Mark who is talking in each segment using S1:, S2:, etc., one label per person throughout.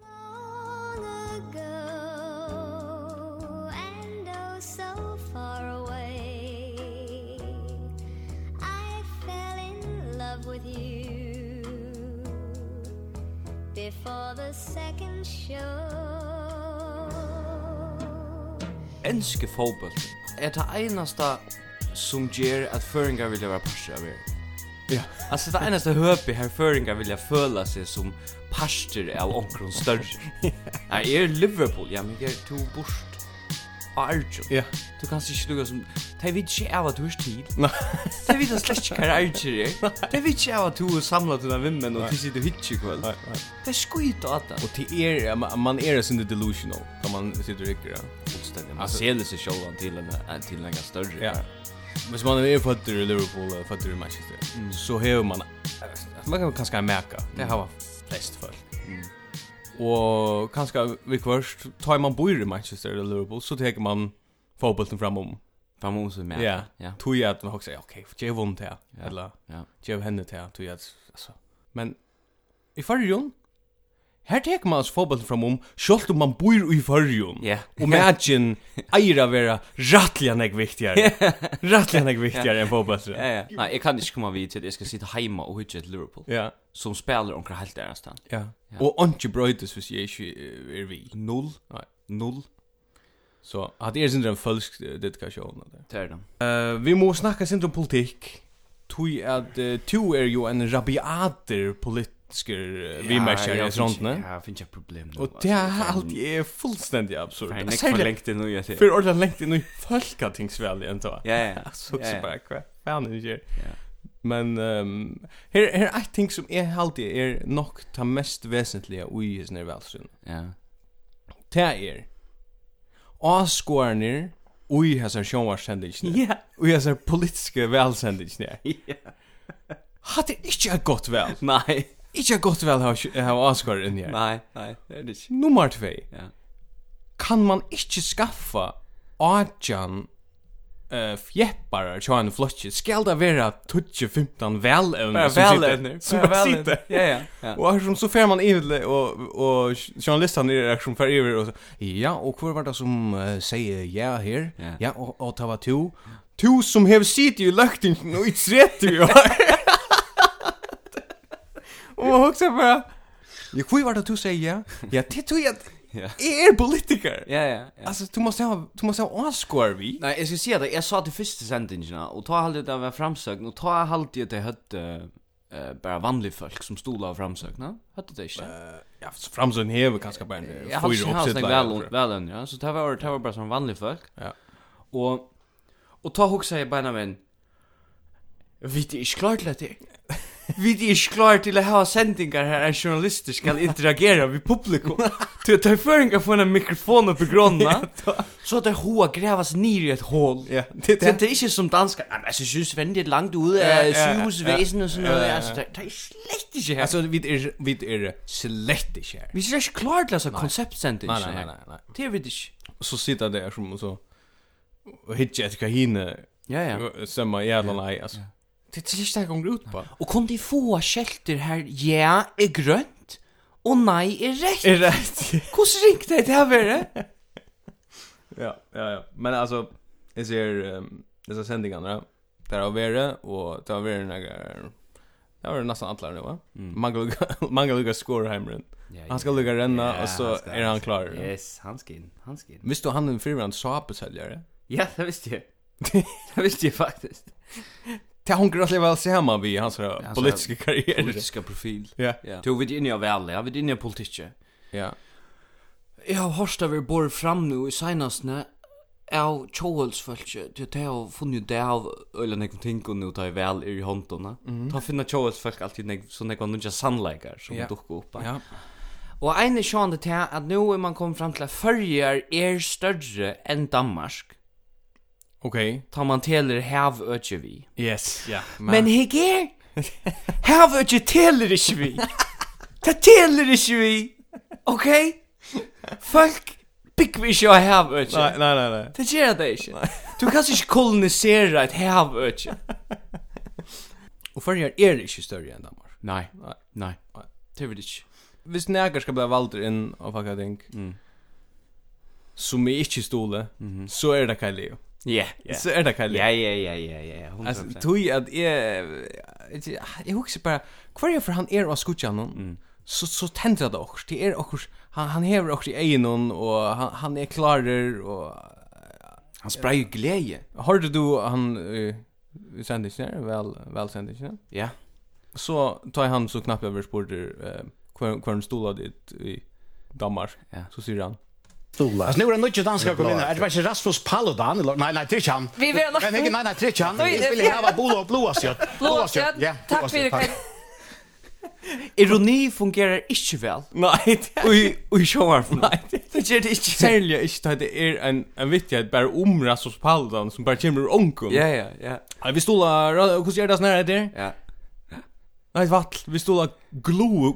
S1: oh, before the second show
S2: Enske fotboll er det einasta som ger at føringar vilja vera partur av er.
S3: Ja.
S2: Alltså det einaste høpi her føringar vilja føla seg som partur av onkron større. Nei, er Liverpool, ja, men er to bort av Arjun.
S3: Ja.
S2: Du kan ikke lukka som, det vet ikke av at du er tid.
S3: Nei.
S2: Det vet slett ikke hva Arjun er. Det vet ikke av at du er samlet dina vimmen og
S3: Nei.
S2: du sitter hitje kvöld.
S3: Nei, nei.
S2: Det er skuit av det.
S3: Og til er, man- man er sin delusional, da man sitter og rykker. ja.
S2: Fullstendig, man
S3: Altså-
S2: seler seg sjålan til en, en til en gang større.
S3: Ja. Hvis man er føtter i Liverpool og føtter i Manchester, så hever man... Man kan kanskje merke, Mm. det har flest folk. Og kanskje vi kvørst, tar man bor i Manchester eller Liverpool, så teker man fotbollen fram om.
S2: Fram om som er.
S3: Ja.
S2: Ja.
S3: Tog jeg at man også sier, ok, jeg vunnet her,
S2: Ja.
S3: eller
S2: Ja.
S3: jeg henne til, tog jeg at, altså. Men i fargen, her teker man altså fotbollen fram om, selv om man bor i fargen.
S2: Ja.
S3: Og matchen eier å være rettelig enn jeg viktigere. Rettelig enn jeg viktigere enn fotbollen.
S2: Ja, ja. Nei, jeg kan ikke komme vidt til at jeg skal sitte heima og hudje til Liverpool,
S3: Ja,
S2: som spiller omkring helt deres stand.
S3: ja. Og onki brøytis hvis jeg ikke eh, er vi.
S2: Null.
S3: Nei.
S2: Null.
S3: Så at det er sindre en følsk eh, dedikasjon. av det.
S2: Det er det.
S3: Eh, vi må snakka sindre om politikk. Tui at eh, tu er jo en rabiater politisker uh, vimerskjer i frontene.
S2: Ja, jeg finner ikke problem nå.
S3: Og det er alltid er fullstendig absurd.
S2: Nei, nekk for
S3: Særlig
S2: lengt inn og jeg til.
S3: for ordentlig lengt inn i folketingsvel igjen da.
S2: Ja, ja.
S3: Så
S2: Ja,
S3: så
S2: ja.
S3: bara kvar. Fan det gör.
S2: Ja.
S3: Men ehm här här är ting som är alltid är nog ta mest väsentliga i his när välsyn.
S2: Ja.
S3: Det är Oscarner i hans sjónvarssendingen.
S2: Ja.
S3: I hans politiska välsändningen.
S2: Ja.
S3: Hade inte ett gott väl.
S2: Nei.
S3: Inte ett gott väl har har Oscar in här.
S2: Nei, nei, det er det ikke.
S3: Nummer 2.
S2: Ja.
S3: Kan man inte skaffa Adjan eh fjäppar tjå en flotch. Skall det vara 12 15 väl
S2: Bara velevner.
S3: Som
S2: Bara
S3: bara
S2: velevner.
S3: sitter.
S2: Ja, ja. ja.
S3: Och här som så fär man in och och journalisten är där som fär över och så ja och kvar var det som eh, säger ja här.
S2: Ja.
S3: Ja och och ta var to. To som har sitt i lökten och i 30 år. Och också bara Jag kvar var det du säger ja. Ja, det tror jag
S2: Ja.
S3: är er politiker.
S2: Ja, ja, ja.
S3: Alltså du måste ha du måste ha Oscar vi.
S2: Nei, jeg skal si at jeg sa til første sendingene, og ta halvdelt av hver framsøkn, og ta halvdelt at jeg høtte eh, bara vanlige folk som stola av framsøkna. Høtte det ikke?
S3: Ja, framsyn hever kanske bara en eh,
S2: Jag har
S3: fyra
S2: inte haft
S3: uppsätt
S2: någon
S3: lärare,
S2: väl
S3: tror jag.
S2: väl än, ja. Så det här var det här var bara som vanlig folk.
S3: Ja.
S2: Och och ta huxa i benen men Vet jag klart till det. Vet jag klart till att ha sändningar här en journalist ska interagera med publikum. Till att ta föringar från en mikrofon upp i gronna. Så att det hoa grävas ner i ett hål.
S3: Ja, det
S2: Det det är inte som danskar. Nej, men alltså syns vändigt det er är långt ut
S3: Ja,
S2: av
S3: ja, ja.
S2: sjukhusväsen och sånt
S3: Ja, ja,
S2: där.
S3: ja.
S2: Alltså det det är slett inte här.
S3: Alltså er- vi är vi är slett i kär.
S2: Vi ser inte klart till alltså konceptsändning.
S3: Nej nej nej nej.
S2: Det er vet jag.
S3: Och så sitter där som så och hittar ett kahine
S2: Ja, ja.
S3: sömma jävla nej alltså. Det är inte det gånger ut på.
S2: Og kun de få skelter her, ja, er grønt, og nei er rett.
S3: Är rätt.
S2: Hvordan ringte jeg til her, Vere?
S3: Ja, ja ja. Men alltså jag ser ehm, dessa sändningarna ja. där har varit och där har er varit några Ja, det är er nästan alla nu va. Mangla Lucas scoreheimren. Han skal lukka renna, og så er han klar.
S2: Yes, han skal inn, han skal inn.
S3: Visst du han er en fyrverand sapesäljare?
S2: Ja, det visste jeg. det visste jeg faktisk.
S3: Det hon grått level samma vi hans här
S2: Alltså,
S3: politiska karriär.
S2: Politiska profil.
S3: Ja.
S2: eh, Ja. Du er vet inne av alle, jeg vet inne av politikere.
S3: Ja.
S2: Jeg har hørt av er bor fram nu i senastene av tjoholdsfølge, til at jeg har funnet det av øyla nekve ting og nå tar jeg vel i håndene. Ta finna tjoholdsfølge alltid nek, så nekve nødja sannleikar som
S3: Mhm. Ja.
S2: dukker opp.
S3: Ja.
S2: Og ein er sjående til at nå er man kommet fram til at Førjar er større enn Danmark.
S3: Okej.
S2: Ta man teler havøtje vi.
S3: Yes. Ja.
S2: Men heg er, havøtje teler ikke vi. Det teler ikke vi. Ok? Folk bygger vi ikke av havøtje.
S3: nej nej nej nej.
S2: Det gjør det ikke. Du kan ikke kolonisere et havøtje.
S3: Och för er är det inte större än Danmark.
S2: Nei,
S3: Nei.
S2: nei.
S3: Nei.
S2: Det vil ikke.
S3: Visst nägar ska bli valder in av fucka ting.
S2: Mm.
S3: Som er är inte stole.
S2: Mhm.
S3: Så är det Kyle Leo.
S2: Ja, ja.
S3: Så är det Kyle
S2: Ja,
S3: Leo.
S2: ja, ja, ja, ja.
S3: Alltså
S2: 100%.
S3: tog att är jag huxar bara kvar är för han är av skutjan.
S2: Mm.
S3: så så tänder det också. Det är också han han häver också i ögonen och han han är klarer och
S2: Han spray glädje.
S3: hörde du han eh, vi sände inte när väl väl sände inte.
S2: Ja.
S3: Så tar han så knappt över sporter eh kvar kvar stolar dit i Danmark.
S2: Ja.
S3: Så säger han.
S4: Alltså nu är det nödvändigt danska jag kom in. här. Det var inte Rasmus Paludan. eller- Nej, nej, det är inte han.
S5: Vi vill
S4: Men nej, nej, nej, det är inte han.
S5: Oj,
S4: Jag vill
S5: ja.
S4: ha blå och blåa skjort.
S5: Blå kött.
S4: Ja, blåa
S5: Tack för
S4: skjort,
S5: er,
S4: tack.
S5: det. Karin.
S2: Ironi fungerar inte väl.
S3: Nej,
S2: Oj, oj, showar.
S3: Nej,
S2: Det gör det inte.
S3: Særlig ikke at det er en, en vittighet bare om Rasmus Paludan som bare kommer ur onkun.
S2: Ja, ja, ja.
S3: Vi stola, hvordan gjør det sånn her etter?
S2: Ja.
S3: Nei, vattl, vi stola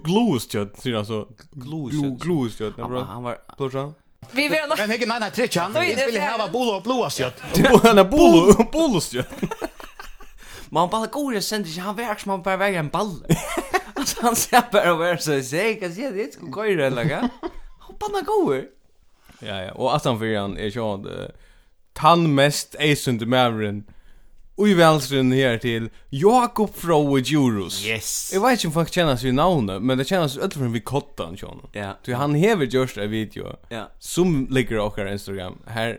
S3: gloestjøtt, sier han så.
S2: Gloestjøtt.
S3: Gloestjøtt,
S2: Han
S3: ja
S2: var-
S3: bra.
S2: han var
S3: Plorsan.
S5: Vi vill
S4: Men nej, nej, nej, det är inte han.
S5: Oj,
S4: Jag vill
S5: det är
S4: ha
S5: han.
S4: blå och blåa skjort.
S3: Han er bolo, bolostjøtt.
S2: Man bara går och sänder sig, han verkar som han bara väger en ball. alltså han ser bara och är så säg, kan se det ska gå i det lägga. Han bara går.
S3: Ja, ja, og at han fyrir han er sjåan tann mest eisund mævren ui velsen her til Jakob Froe Djurus.
S2: Yes.
S3: Jeg vet ikke om folk kjenner seg i navnet, men det kjennes öll for en vi kottan, sjåan.
S2: Ja.
S3: Du, han hever gjørst av video.
S2: Ja.
S3: som ligger på vår Instagram här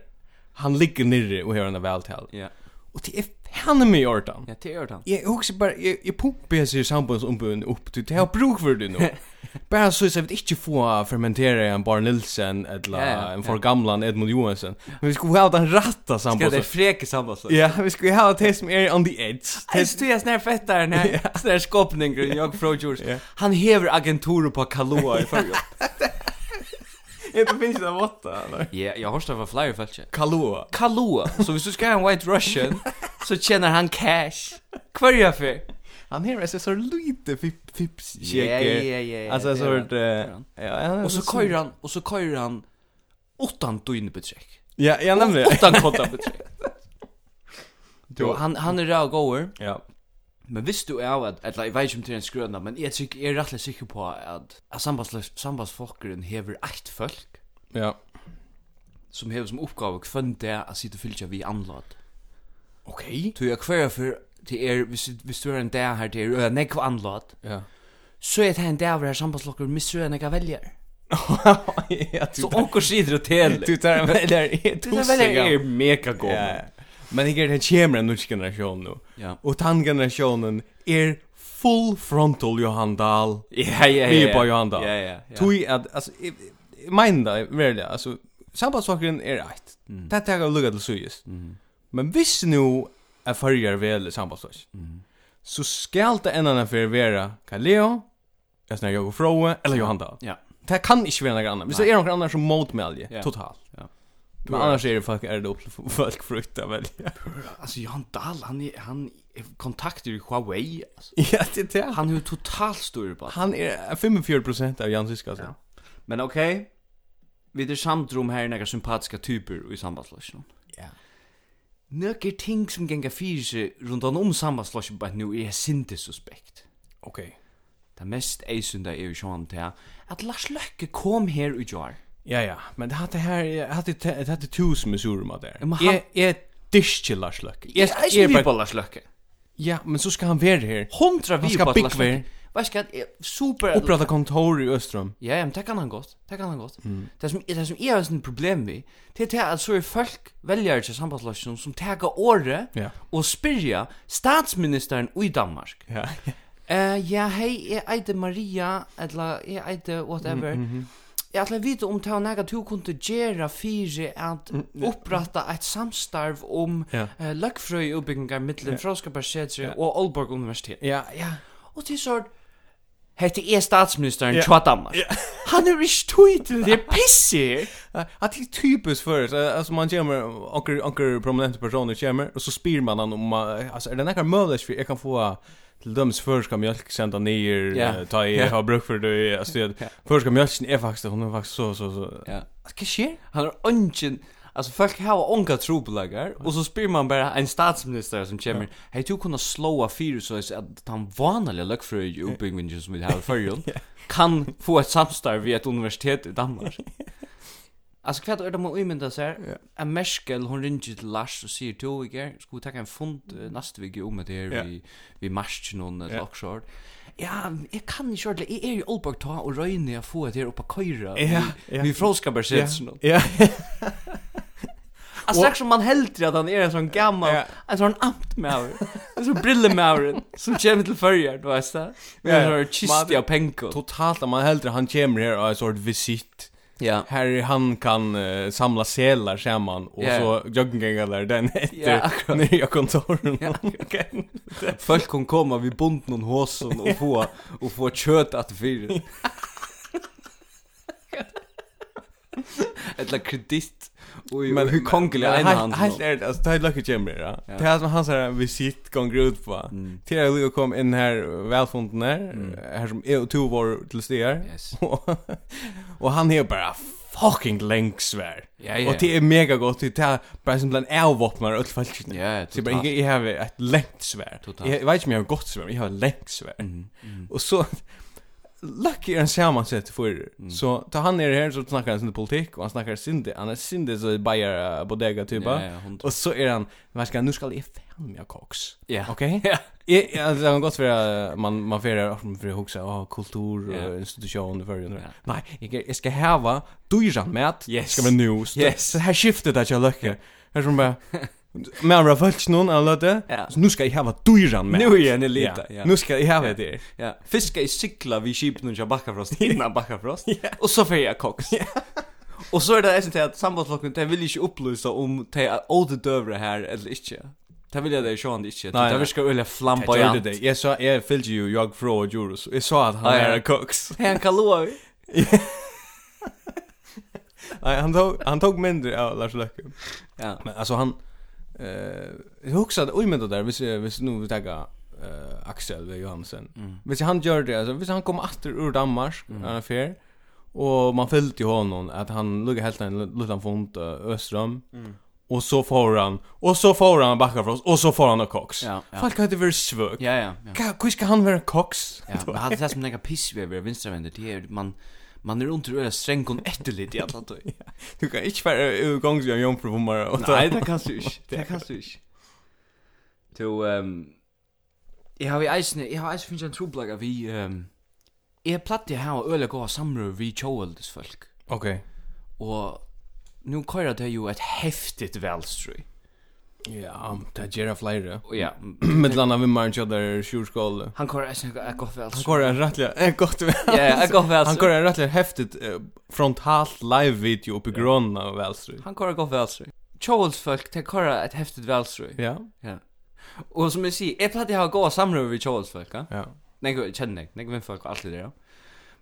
S3: han ligger nere och hör en vältal.
S2: Ja.
S3: Och det er är fan med Jordan.
S2: Ja, det gör han.
S3: Jag också bara jag, jag pumpar sig sambons ombuden upp er till det här bruk för det nu. bara så så att vi inte få fermentera en Bar Nilsen eller
S2: Ja, ja,
S3: en
S2: ja.
S3: för gamlan Edmund Johansen. Men vi skulle ha den
S2: Ska
S3: rätta sambons.
S2: det freke samma så.
S3: Ja, vi skulle ha det som är er on the edge.
S2: Det står jag snär fettar den här sån här skåpningen jag från
S3: Ja.
S2: George. Han häver agenturer på Kaloa i
S3: er
S2: förrgår.
S3: Det finns det åtta eller?
S2: Ja, jag har stått för flyer fältje.
S3: er- Kalua.
S2: Kaloa. Så hvis du ska ha en white russian så tjänar han cash. Kvar är jag för?
S3: Han här är så så lite fip- tips.
S2: Ja, ja, ja, ja.
S3: Alltså
S2: det
S3: så
S2: gör han,
S3: vart eh,
S2: det gör han.
S3: ja.
S2: Och så køyrer han och så køyrer han åttan døgn betrekk.
S3: Ja, jag nämnde.
S2: Åttan kotta betrekk.
S3: Du-
S2: han han är där goer.
S3: Ja.
S2: Men visst du är att eller jag vet inte om det är en skröna, men jag tycker jag är rätt säker på att att sambas sambas folkeren häver ett folk
S3: Ja.
S2: som häver som uppgave kvön det att sitta och fylla vi anlad.
S3: Okej.
S2: Du är kvar för till er hvis hvis du är en där här till er nej anlad.
S3: Ja.
S2: Så är det en där här sambas folkeren missröna jag väljer.
S3: ja, du
S2: Så onkel sidr och tel.
S3: du tar en väljer
S2: Det där väljer är mega god.
S3: Ja. Men det är det kommer en ny generation nu.
S2: Ja.
S3: Och den generationen är full frontal Johan Dahl.
S2: Ja, ja, ja.
S3: Vi på Johan Dahl.
S2: Ja, ja. ja.
S3: Tui att alltså mind det verkligen alltså sambandssaken är rätt.
S2: Mm.
S3: Det tar jag lugga till sys. Men visst nu är förjar väl sambandssak.
S2: Mm.
S3: Så skall det en annan för vara Kaleo, jag snär jag och Froe eller Johan Dahl.
S2: Ja.
S3: Det kan inte vara några annan. Hvis det är några annan som motmäljer
S2: Ja.
S3: totalt.
S2: Ja.
S3: Men annars är det fuck är det upp till folk frukt att välja.
S2: Alltså Johan Dahl, er- han är, han är kontakter i Huawei. Alltså.
S3: Ja, er- det är det.
S2: Han är ju totalt stor på.
S3: Han är 54% av er Jan Siska alltså.
S2: Men okej. Vi är samt rum här några sympatiska typer i sambandslösningen.
S3: Ja.
S2: Några er ting som gänga fyra sig runt om um sambandslösningen bara nu är sinte er suspekt.
S3: Okej.
S2: Det mest eisunda er jo sjåan til at Lars Løkke kom her i jar.
S3: Ja ja, men det er- hade här jag hade det hade tusen mesurer med där.
S2: men han-
S3: Jag är dish Lars Løkke.
S2: Jeg
S3: Jag
S2: er
S3: är
S2: bare på
S3: bara
S2: Lars Løkke.
S3: Ja, men så ska han vara här.
S2: Hundra vi
S3: Han skal
S2: på at Lars
S3: bygge
S2: Løkke. Vad ska super
S3: Upprätta kontor i Östrom.
S2: Ja, ja, men det kan han godt. Det kan han godt. Det som, det som jeg har sånn problem med, det er det at så er folk velger til sambandsløsjon som tager året
S3: Ja.
S2: og spyrja statsministeren i Danmark.
S3: Ja.
S2: Eh, ja, hei, jeg eide Maria, eller jeg eide whatever.
S3: Mm, mhm.
S2: Jeg ætla um vite om det var nega du kunne gjera fyrir at oppretta eit samstarv om
S3: Mm, Ja.
S2: eh, løgfrøy uppbyggingar mittlen ja. og Aalborg Universitet.
S3: Ja, ja.
S2: Og til sort Hette er statsministeren
S3: Ja.
S2: yeah. Tjua Danmark. Han er ikke tøy til det pisser.
S3: Att det er är typiskt för så alltså man kommer och och prominenta personer kommer och så spyr man han om eh, alltså är det några möjlighet för jag kan få till döms för ska mjölk sända ner
S2: Ja.
S3: eh, ta i
S2: Ja.
S3: har bruk för det er alltså det för ska mjölken är faktiskt hon är faktiskt er så så så
S2: Ja. Hva skjer? Han er ønsken... Altså, folk har onka trobelagar, og så spyr man bare en statsminister som kommer, hei, du kunne slåa fyrir så at han vanlige løgfrøy i oppbyggingen som vi har i fyrjon, kan få et samstarv i et universitet i Danmark. Altså, hva er det man umynda seg? En Merkel, hon ringer til Lars og sier, du, er, ikke, skal vi takka en fund eh, neste vik om det her,
S3: Ja.
S2: vi, vi marsjer noen
S3: Ja.
S2: eller okshort. ja, jeg kan ikke ordentlig, jeg er i Aalborg ta og røyne jeg få det her oppe køyre.
S3: Ja, ja.
S2: Vi fråskaper sett sånn.
S3: Ja.
S2: Altså, det er som man helter at han er en sånn gammal,
S3: Ja.
S2: en sånn amtmauer, en sånn brillemauer, som kommer til førjer, du veist det? Ja,
S3: Ja, ja.
S2: en sånn kisti
S3: Man-
S2: av penko.
S3: Totalt om man heldur han kemur her og er sort visit.
S2: Ja.
S3: Här är han kan eh, samla selar samman och
S2: Ja.
S3: så joggingängar där den
S2: Ja,
S3: efter
S2: akkurat.
S3: nya kontoren. Ja.
S2: Folk kan komma vid bunden och håsen och få, och få kött att fyra. Eller kredit och, men, hur kongelig är en hand.
S3: Helt är det alltså det är lucky chamber. Ja.
S2: Ja. Mm.
S3: Det är som han säger visit gånger ut på. Till jag lukar kom in här välfunden här här som är och två var till stigar.
S2: Yes.
S3: och han är bara fucking länksvär.
S2: Ja, ja.
S3: Och det är mega gott det är bara som bland avvapnar och falskt.
S2: Ja,
S3: Så bara jag har ett längt svärd.
S2: Totalt. Mm,
S3: Jag vet inte om jag har gott svärd, men jag har längt svärd. Och så Lucky är en sammansätt för
S2: Mm.
S3: så tar han ner här så snackar han sin politik och han snackar sin han är sin så bajar eh, bodega typa.
S2: Ja, ja, hundra.
S3: och så är han vad ska nu ska jag fan med koks.
S2: Ja.
S3: Okej.
S2: Ja.
S3: Jag alltså han har gått för eh, man man för för att huxa oh, kultur
S2: Ja.
S3: och institution för ju.
S2: Ja.
S3: Nej, jag jag ska häva dyra mat.
S2: Yes.
S3: Ska vi nu. Så-
S2: Yes.
S3: Så här skiftet att jag Lucky. Här som bara Men jag följt någon alla det.
S2: Ja.
S3: Så nu ska jag häva dyran med.
S2: Nu är jag en elita, ja.
S3: Nu ska jag häva det.
S2: Ja, fiska i cykla vid kipen och köra backafrost innan backafrost. Och så får jag koks. er Och så är det nästan till att sambandsflocken, det vill inte upplysa om det är återdövra här eller inte. Det vill jag det är sjående inte.
S3: Nej,
S2: Det
S3: nej.
S2: vill jag
S3: Bara jag
S2: flamboyant.
S3: det. Jag sa jag följde ju jag från Euros. Jag sa att han
S2: Ja, ja.
S3: är en koks.
S2: Hej, han kan lova vi.
S3: Nej, han tog han tog mindre av Lars Løkke.
S2: Ja.
S3: Men alltså han eh jag huxade oj men det där vis vis nu vi tagga eh Axel V Johansen. Mm. Vis han gör det alltså vis han kom åter ur Danmark mm. en affär och man följde ju honom att han lugg helt en liten font Öström. Mm. Och så får han och så får han backa för oss och så får han en koks.
S2: Ja, ja.
S3: Folk hade varit svök.
S2: Ja, ja, ja.
S3: Ka- Hur ska han vara en koks?
S2: Ja, men er hade det som några pissvever vänstervänder det är man man är inte öra sträng kon etterligt i alla tog.
S3: Du kan inte vara utgångsgång jomfru på morgonen.
S2: Nej, det kan du ikke. Det kan du ikke. To, ehm... Jeg har i eisen, jeg har i eisen finnes en troblag av vi, ehm... Jeg platt jeg har øyla gå samrøy vi tjoeldes folk.
S3: Okej.
S2: Og nu køyra det jo et heftigt velstrøy.
S3: Ja, det gör jag flera.
S2: Og ja,
S3: Med landa vid Marge där sjurskolle.
S2: han køyra eisen et godt
S3: Han
S2: velstrøy.
S3: går en rättliga, en gott väl.
S2: Ja, ja, et godt
S3: Han går
S2: velstrøy.
S3: en rättliga häftigt eh, frontalt live video uppe i Grönna och Välstryd.
S2: Han køyra et godt velstrøy. Tjoeldes folk, det køyra et heftigt velstrøy.
S3: Ja,
S2: Og som jeg sier, jeg platt jeg har gå samrøy vi tjoeldes folk, ja.
S3: ja.
S2: Nei, jeg kjenner ikke, jeg vet folk og alt det der.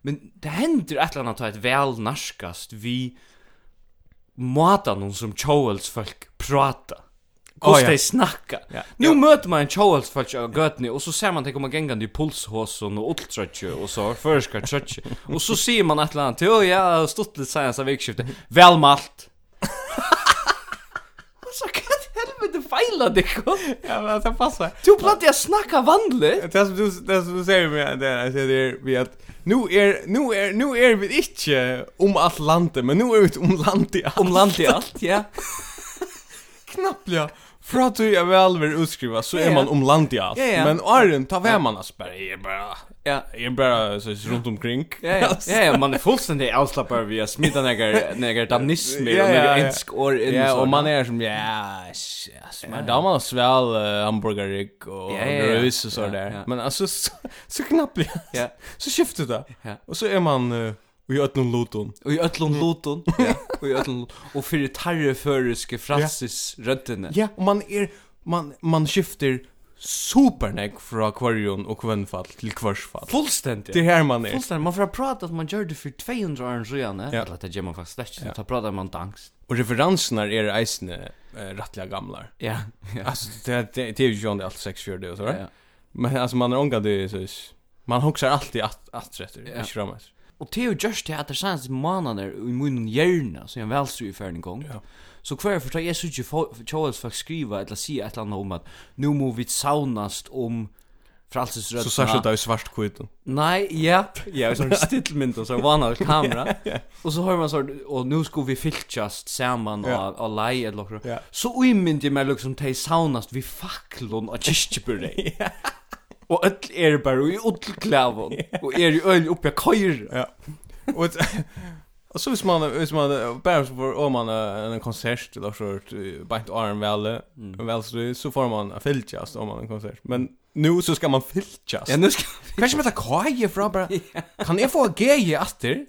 S2: Men det hender et eller annet at vel narskast vi måta noen som Joels folk prata.
S3: Åh,
S2: Hvordan
S3: ja.
S2: de snakka.
S3: Ja.
S2: Nu møter man en Joels folk av gøtene, og så ser man at de kommer gengande i pulshåsen og ultrøtje, og så førskar trøtje. Og så sier man et eller annet til, «Å, ja, stått litt science av vikskiftet, velmalt. Og så hva til helvete feila det kom?
S3: Ja, men det passar.
S2: Du platt jeg snakka vanlig.
S3: Det som du det som du säger med det är det är vi att nu är nu är nu är vi inte om allt landet, men nu är vi om landet. Ja.
S2: Om land i alt, ja.
S3: knappt ja. För att jag väl vill utskriva så
S2: Ja,
S3: är
S2: ja.
S3: man om landet. Ja,
S2: Ja, ja.
S3: Men Arjen tar vem man asper. Jag är bara
S2: Ja.
S3: jag är bara så runt omkring.
S2: Ja, ja, ja, ja, man er är fullständigt avslappad vid att smita några, några damnismer
S3: Ja,
S2: och
S3: ja,
S2: några
S3: ja.
S2: ensk år in.
S3: Ja,
S2: så.
S3: och man är som ja, s- alltså man där man sväl uh, hamburgerrik och
S2: Ja, ja, ja.
S3: grös och så
S2: Ja,
S3: där.
S2: ja.
S3: Men alltså så, så knappt. Ja.
S2: Ja.
S3: Så skiftar det.
S2: Ja.
S3: Och så är man uh, i ötnon loton.
S2: Och i ötlund loton. Mm. Ja, och i ötlund Och för tarre föreske Francis röntene.
S3: Ja, och man är man man skiftar supernäck från akvarion och kvönfall till kvarsfall. Det är
S2: Fullständigt.
S3: här man er. är.
S2: Fullständigt. er Man får prata att man gör det för 200 år sedan. Ja.
S3: Ja.
S2: Eller att det gör man faktiskt inte. Då pratar man dans.
S3: Och referenserna är eisne uh, rättliga gamlar.
S2: Ja, ja.
S3: Alltså det er, det det är ju ju allt sex för det och så.
S2: ja.
S3: Ja. Men alltså man är ångad så man huxar alltid att att rätt
S2: Ja.
S3: ja. i framåt.
S2: Og Theo gjørs til at er det sanns månader i munnen hjärna, så jeg velstår i færden gong. er
S3: Ja.
S2: Så hver for jeg synes ikke Kjåles folk skriva eller si et eller annet om um at nu må vi saunast om fralsesrødna.
S3: Så särskilt det är svart kvitt.
S2: um Nei, ja. Ja, sånn stillmynd og så vanlig kamera. Og så har man sånn, og nu skal vi fylkjast saman
S3: Ja.
S2: og, og lei eller noe.
S3: Ja.
S2: Så uimynd jeg meg liksom til saunast vi faklon og kyrkjebyrrei. Og öll er bara i ullklavon. Og er i öll uppe av køyre.
S3: Ja. Och Och så hvis man hvis man bara så får om man eh, en konsert eller så bant arm väl väl så så får man en filtjast om man en konsert. Men nu så ska man filtjast.
S2: Ja, nu ska
S3: Kanske med att kaje från bara kan jag få ge efter?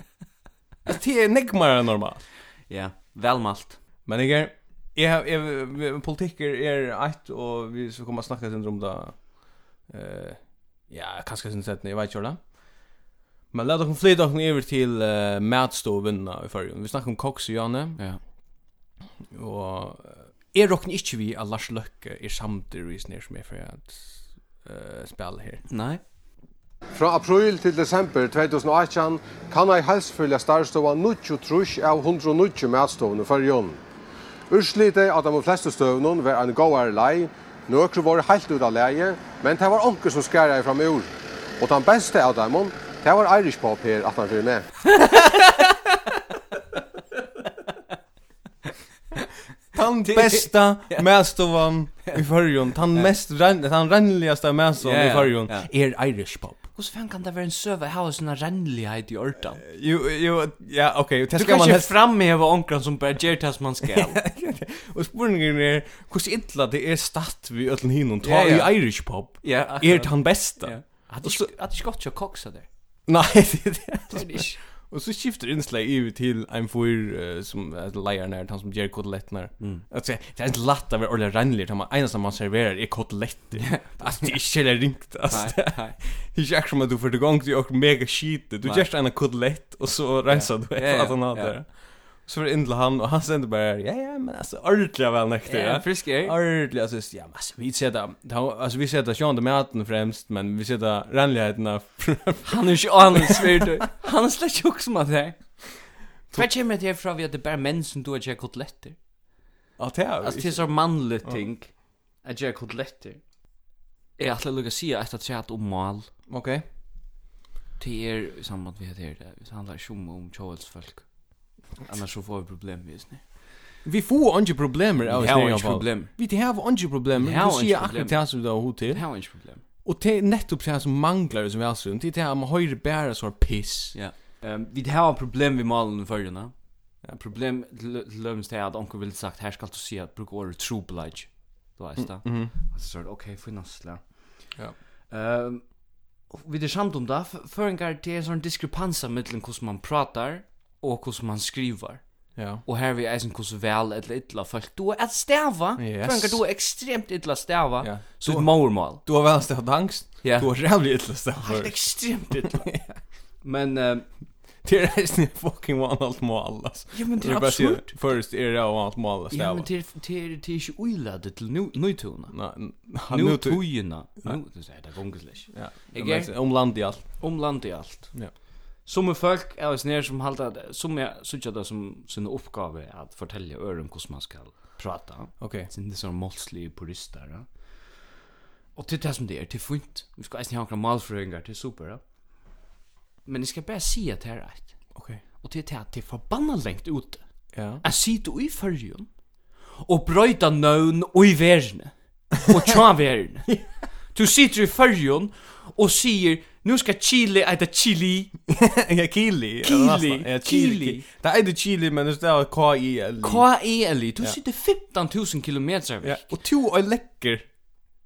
S3: Det är nekmare normalt.
S2: Ja, velmalt.
S3: Men er, jag jag har jag politiker är ett och er vi så kommer att snacka sen om det. Eh ja, kanske sen sett när jag vet ju det. Men låt oss flytta oss över till uh, matstoven i förrjun. Vi snackar om koks och Janne. eh,
S2: Ja.
S3: Och är rocken inte vi att Lars Løkke är samtidigt när som er är för att uh, spela här.
S2: Nei.
S5: Fra april til desember 2018 kan ei helsefølge starstova 90 trus av 190 matstovene for jøn. Urslite at de fleste støvnene var en gåere lei, nøkru var helt ut av leie, men det var onker som skar ei fram ur. Og den beste av dem, det var Irish Pop her at han fyrir med.
S3: Tan bästa matstovan i förrjun. Tan mest rann, tan rannligaste matstovan
S2: Ja,
S3: i
S2: ja,
S3: förrjun
S2: ja.
S3: är Irish pop.
S2: Hvordan fan kan det være en søve her og sånne rennlighet i ordan?
S3: Jo, jo, ja, okej, okay, det
S2: Du
S3: ska
S2: kan
S3: man
S2: ikke
S3: helst.
S2: framheve onkran som bare gjør det som man skal.
S3: Och spurningen är hur er, illa det är statt vi öllen hinnon ta
S2: Ja, ja.
S3: i Irish pop.
S2: Ja,
S3: Är det han bästa?
S2: Ja. Hadde ikke- hadde ikke gått til å koksa der.
S3: Nej, det är
S2: Det er det ikke.
S3: Och så skiftar inslag ju till en fyr eh, som är lejaren här, han som ger kotelettnar. Mm. Att säga, det är inte lätt att vara ordentligt rannligt, han ena som er man serverar är koteletter. Alltså det är inte heller ringt, alltså.
S2: Nei, nei.
S3: Det är inte som att du får igång till och mega shit. Du
S2: Nej.
S3: gör en kotelett och så rensar du
S2: Ja,
S3: efter
S2: ja,
S3: att han har
S2: ja.
S3: det. Så var det in till han och han sände bara, ja ja men alltså ordentliga väl näkter.
S2: Ja,
S3: Ja,
S2: frisk er.
S3: Ordentliga alltså, ja men alltså vi ser det, det har- alltså vi ser det sjön maten främst men vi ser det renligheten
S2: Han er ikke annen svirte. Han er slett ikke som han er. Hva kommer det herfra vi at det er bare menn som du har gjør koteletter?
S3: att det är.
S2: Altså, det er så mannlig ting at gjør koteletter. Jeg ætla lukka sia etter at tjat om mal.
S3: Okej.
S2: Det er i samband med det her. Det handlar ikke om om tjåelsfolk. Annars så får vi problem med oss.
S3: Vi får inte problem med
S2: Vi
S3: oss
S2: har
S3: i alla
S2: ikke
S3: fall.
S2: problem.
S3: Vi det har inte problem.
S2: Vi
S3: Vi
S2: har
S3: har
S2: ikke
S3: inte
S2: problem.
S3: akkurat det som du har hot
S2: Det
S3: till.
S2: har vi ikke problem.
S3: Och det är nettopp det som manglar som vi alltså inte det här man har ju bara så här er piss.
S2: Ja. Ehm vi har ett problem vid malen i förrjuna. Ja, problem lömst är att onkel vill sagt här ska du se att bruka ordet true oblige. Du vet det. Mm. Alltså så okej finansla.
S3: Ja.
S2: Ehm vi det samt um om det för en det är en sån er diskrepans mellan hur man pratar och hur man skriver.
S3: Ja.
S2: Och här vi är sen hur väl eller illa folk du er är att stäva.
S3: Yes.
S2: För en du är extremt illa stäva.
S3: Ja.
S2: Så er ett mormal.
S3: Du har väl haft angst?
S2: Ja.
S3: Du har jävligt illa ställt
S2: Helt
S3: för.
S2: extremt illa. Men ehm
S3: Det är nästan fucking one allt mål er alltså.
S2: ja men det
S3: Jag
S2: är
S3: bara säger,
S2: absurt.
S3: Först är det er one allt mål alltså.
S2: Ja, men til til til ikke uilade til nu nutuna. Nu
S3: nu er
S2: tujuna. Nu det säger det gånger slash.
S3: Ja.
S2: Ikke?
S3: men Om land i allt.
S2: Om land i alt.
S3: Ja.
S2: Som folk er oss nere som halda som jeg sutja det som sin oppgave er at fortelja øren hvordan man skal prata.
S3: Okej.
S2: Sin det sånn målslige purister. Ja. Og til det som det er, til funt. Vi skal eisen ha noen malfrøyngar til super. Ja. Men jeg skal bare si at det er rett.
S3: Okej.
S2: Og til det at det er forbanna lengt ute.
S3: Ja.
S2: Jeg sitter i fyrjun og brøyta nøvn i verene. Og tja verene. Du sitter i fyrjun og sier Nu ska Chile äta chili.
S3: Ja, Kili.
S2: Kili, Kili.
S3: Ja, Kili. Det är det Kili men det är K-I-L.
S2: K-E-L-I. E Du sitter 15 000 kilometer
S3: Ja.
S2: vekk.
S3: Och två är läcker.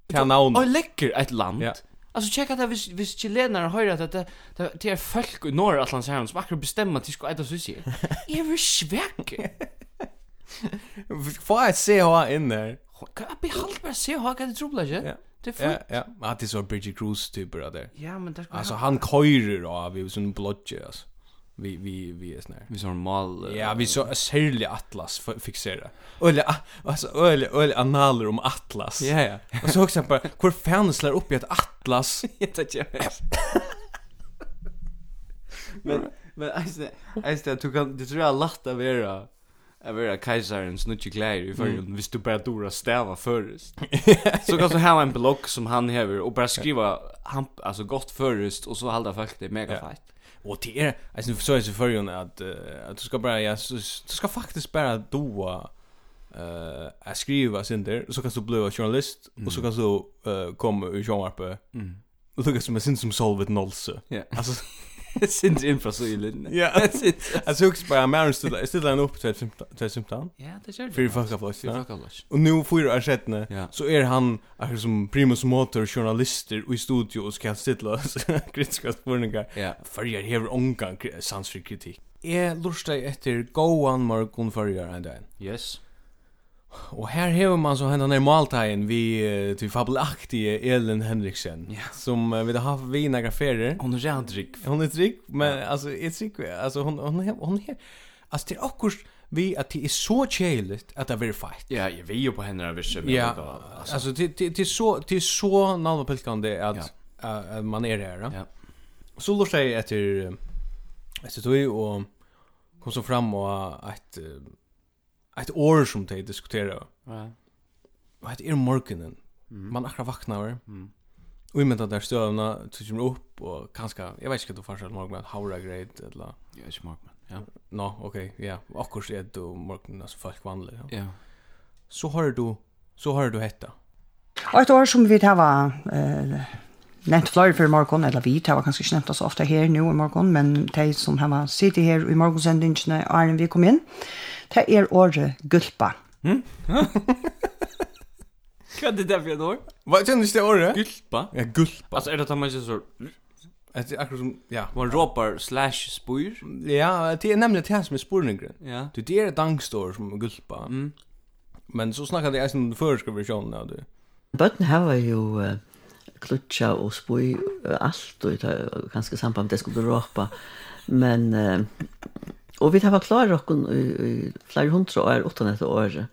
S3: Kan namn.
S2: Og lekker et land.
S3: Ja.
S2: Altså, tjekk at det, hvis, hvis chilenere høyre at det, det, det er folk i Nordatlantsherren som akkurat bestemmer at de skal äta sushi. Jeg er svekk.
S3: Får jag se ha in där?
S2: Jeg behalder bare se hva det tror jeg
S3: Ja.
S2: ikke. Det er
S3: Ja,
S2: fint.
S3: ja. Att det är så Bridget Cruise typer av det.
S2: Ja, men det er- skal
S3: Alltså han köjer av vi som blodge alltså. Vi vi vi är snär.
S2: Vi sånn mal...
S3: Ja, vi så särlig atlas fixera. Eller alltså eller eller analer om atlas.
S2: Ja, ja.
S3: Och så också bara hur fan slår upp i ett atlas.
S2: Jag tar inte Men, men alltså, alltså att du kan, det tror jag lätt att vara att vara kejsaren snutje kläder i förrjun mm. hvis du bara dora stäva förrest. så kan du ha en blogg som han häver och bara skriva han, alltså gott förrest och så hålla folk det mega
S3: Ja.
S2: fight.
S3: Och det är alltså så är det för ju att eh, att du ska bara ja, så- du ska faktiskt bara doa eh att skriva sin där så kan du bli journalist och så kan du eh komma ur Jean Arpe. Mm. Det lukkar som en sin som solvet nollse.
S2: Ja.
S3: Alltså,
S2: Sint inn fra sylen.
S3: ja. Alltså också bara Maren stilla stilla en upp till till symptom.
S2: Ja, det gjør
S3: För
S2: det.
S3: fuck up loss.
S2: Det er fucking lush.
S3: Och nu fyra år sedan
S2: Ja.
S3: så är han er akkur som primus motor journalister och i studio och ska sitta och kritiska spurningar.
S2: Ja.
S3: Förjar hever ongan sans för kritik. Jag lustar efter Goan Morgon förjar en dag.
S2: Yes.
S3: Og her hever man så hendan er maltagen vi eh, til fabelaktige Elin Henriksen,
S2: Ja.
S3: som eh, vi har haft vi några ferier.
S2: Hon er rædrygg.
S3: Hon är trygg, men alltså är trygg, eh, alltså hon hon hon, hon är alltså det är också vi att det är så tjejligt att det är fight.
S2: Ja, jeg vil jo på henne av visse. men
S3: Ja,
S2: jeg vil ikke- altså,
S3: alltså det det det är så det är så nalvapilkande att
S2: Ja.
S3: eh, att man är där. Ja.
S2: Ja.
S3: Så låter jag efter eh, efter tog och kom så fram och ett eh, ett år som de diskuterar
S2: ja.
S3: vad heter morgonen. er Man akkurat vaknar. Mm. Och i med där stövna så kommer upp och kanske jag vet inte vad farsal morgonen haura grejt eller
S2: Jeg er ikke mark, men. Ja.
S3: no, okej, ja. er Och kurs är då morgonen så folk vandrar. Ja.
S2: Ja.
S3: Så har du så har du hetta.
S6: Og et år som vi tar var eh, nevnt flere for i morgen, eller vi tar var kanskje ikke nevnt oss ofte her nå i morgen, men de som har var sittet her i morgensendingene og er vi kom inn, det er året gulpa.
S2: Hva er det der for et år?
S3: Vad känns det året?
S2: Gulpa?
S3: Ja, gulpa.
S2: Altså, er det at man ikke så...
S3: Det är akkurat som, ja.
S2: Man råpar slash spyr?
S3: Ja, det är nämligen det här som är spårningren.
S2: Ja.
S3: Du, det är ett dangstor som är gulpa. Mm. Men så snackade jag som förska versionen av det.
S7: Bøtten hava jo uh, klutja og spui uh, alt, og ta, kanskje samband med det skulle råpa. Men, uh, og vi hava klar okken i, i flere hundra år, åttan etter året.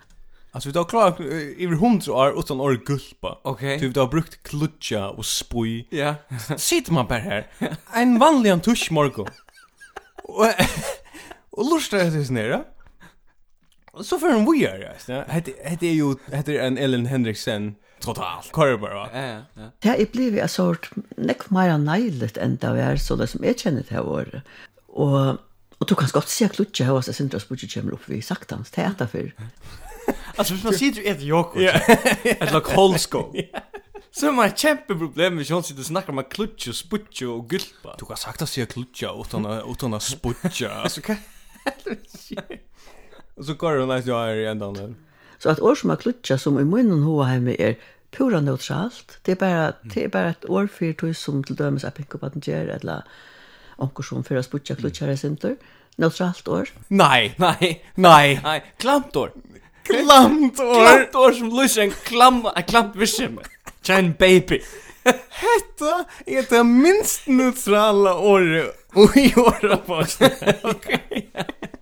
S3: Alltså vi tar klart över hundra år utan år gulpa.
S2: Okej.
S3: Typ du har brukt klutja och spoj.
S2: Ja.
S3: Sitter man bara här. En vanlig en tusch morgon. Och, och lustar jag tills nere. Och så för en weird. Det är ju, det är er en Ellen Henriksen. Totalt. Korbar va?
S2: Ja, ja, ja.
S7: Det er blivit en sort nekk meira neilet enn det er, så det som jeg kjenner det her året. Og, og du kan godt si at klutja hava seg sindra spui kommer opp vi saktans, det er etter fyrr.
S2: Altså, hvis man sitter i et yoghurt,
S3: Ja.
S2: et lag kolsko, så er man et kjempeproblem hvis man sitter og snakker om klutje, sputje og gulpa.
S3: Du kan sagt att säga klutcha utan att utan att sputcha. Alltså kan Och så går hon nästan
S2: er
S3: här i ändan där.
S7: Så att år som har klutja som i munnen hoa hemme er pura neutralt. Det er bara, det er bara et år fyrir tog som til dømes er pinko patentjer, eller onker som fyrir sputja klutja resintur. Neutralt år.
S3: Nej,
S2: Nei,
S3: nej.
S2: nei, klamt år.
S3: Klamt år.
S2: Klamt år som lyser en klam, en klamt vissem. Kjenn baby.
S3: Detta är det minst neutrala året och i året på oss. Okej.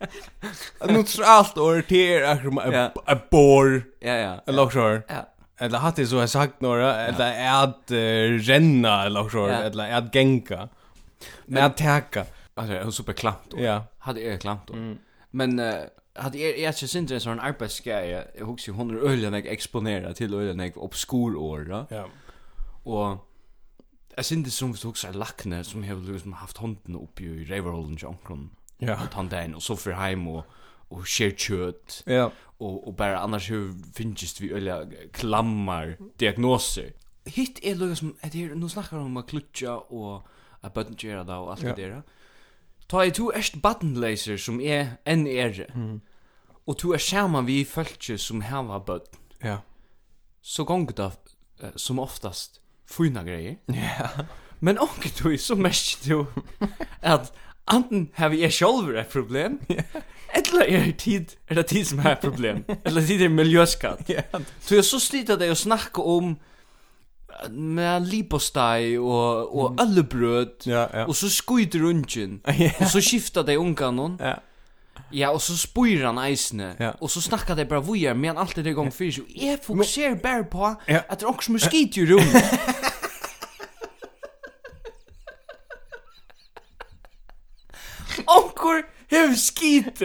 S3: Neutralt år till er
S2: Ja.
S3: är en bor.
S2: Ja, ja.
S3: Eller också. här.
S2: Ja.
S3: Eller hatt det så jag sagt några. Eller är att eh, renna eller också. här,
S2: Ja.
S3: Eller är att gänka. Men att täcka.
S2: Altså, det er super klamt år.
S3: Ja.
S2: Hadde jeg klamt år. Men eh, hadde jeg, jeg er ikke sindre en sånn arbeidsgreie, jeg husker jo hun er øyne jeg eksponerer til øyne jeg obskurår, da.
S3: Ja.
S2: Og jeg synes som vi tog seg lakne er som har liksom haft hånden oppi i reiverholden til omkron.
S3: Ja.
S2: Og tandein, og så fyrir heim og, og skjer kjøt.
S3: Ja.
S2: Og, og bare annars hur finnes vi øyla klammar diagnoser. Hitt er lukka som, at her, nå snakkar vi om at klutja og at bøtten gjerra da og alt
S3: Ja.
S2: det der. Ta i to erst buttonlaser som er enn er, og to er saman vi fölkje som hava bøtten
S3: Ja.
S2: så gongur det eh, som oftast fina grejer. Ja. Men onkel du så mest du att anten har vi själva ett problem. er Eller är det tid, är det tid som har ett problem. er Eller tid är miljöskatt.
S3: Ja.
S2: Så jag så sliter det att snacka om eh, med lipostei och och öllebröd.
S3: Mm. Ja, ja.
S2: Och så skjuter runchen.
S3: Ja.
S2: Och så skiftar det unga någon.
S3: Ja.
S2: Ja, och så spyr han eisne.
S3: Ja.
S2: Och så snackar det bara vojar men alltid det gång för sig. Jag fokuserar bara på
S3: Ja.
S2: att det er är också moskit i rummet. Onkor hev skit.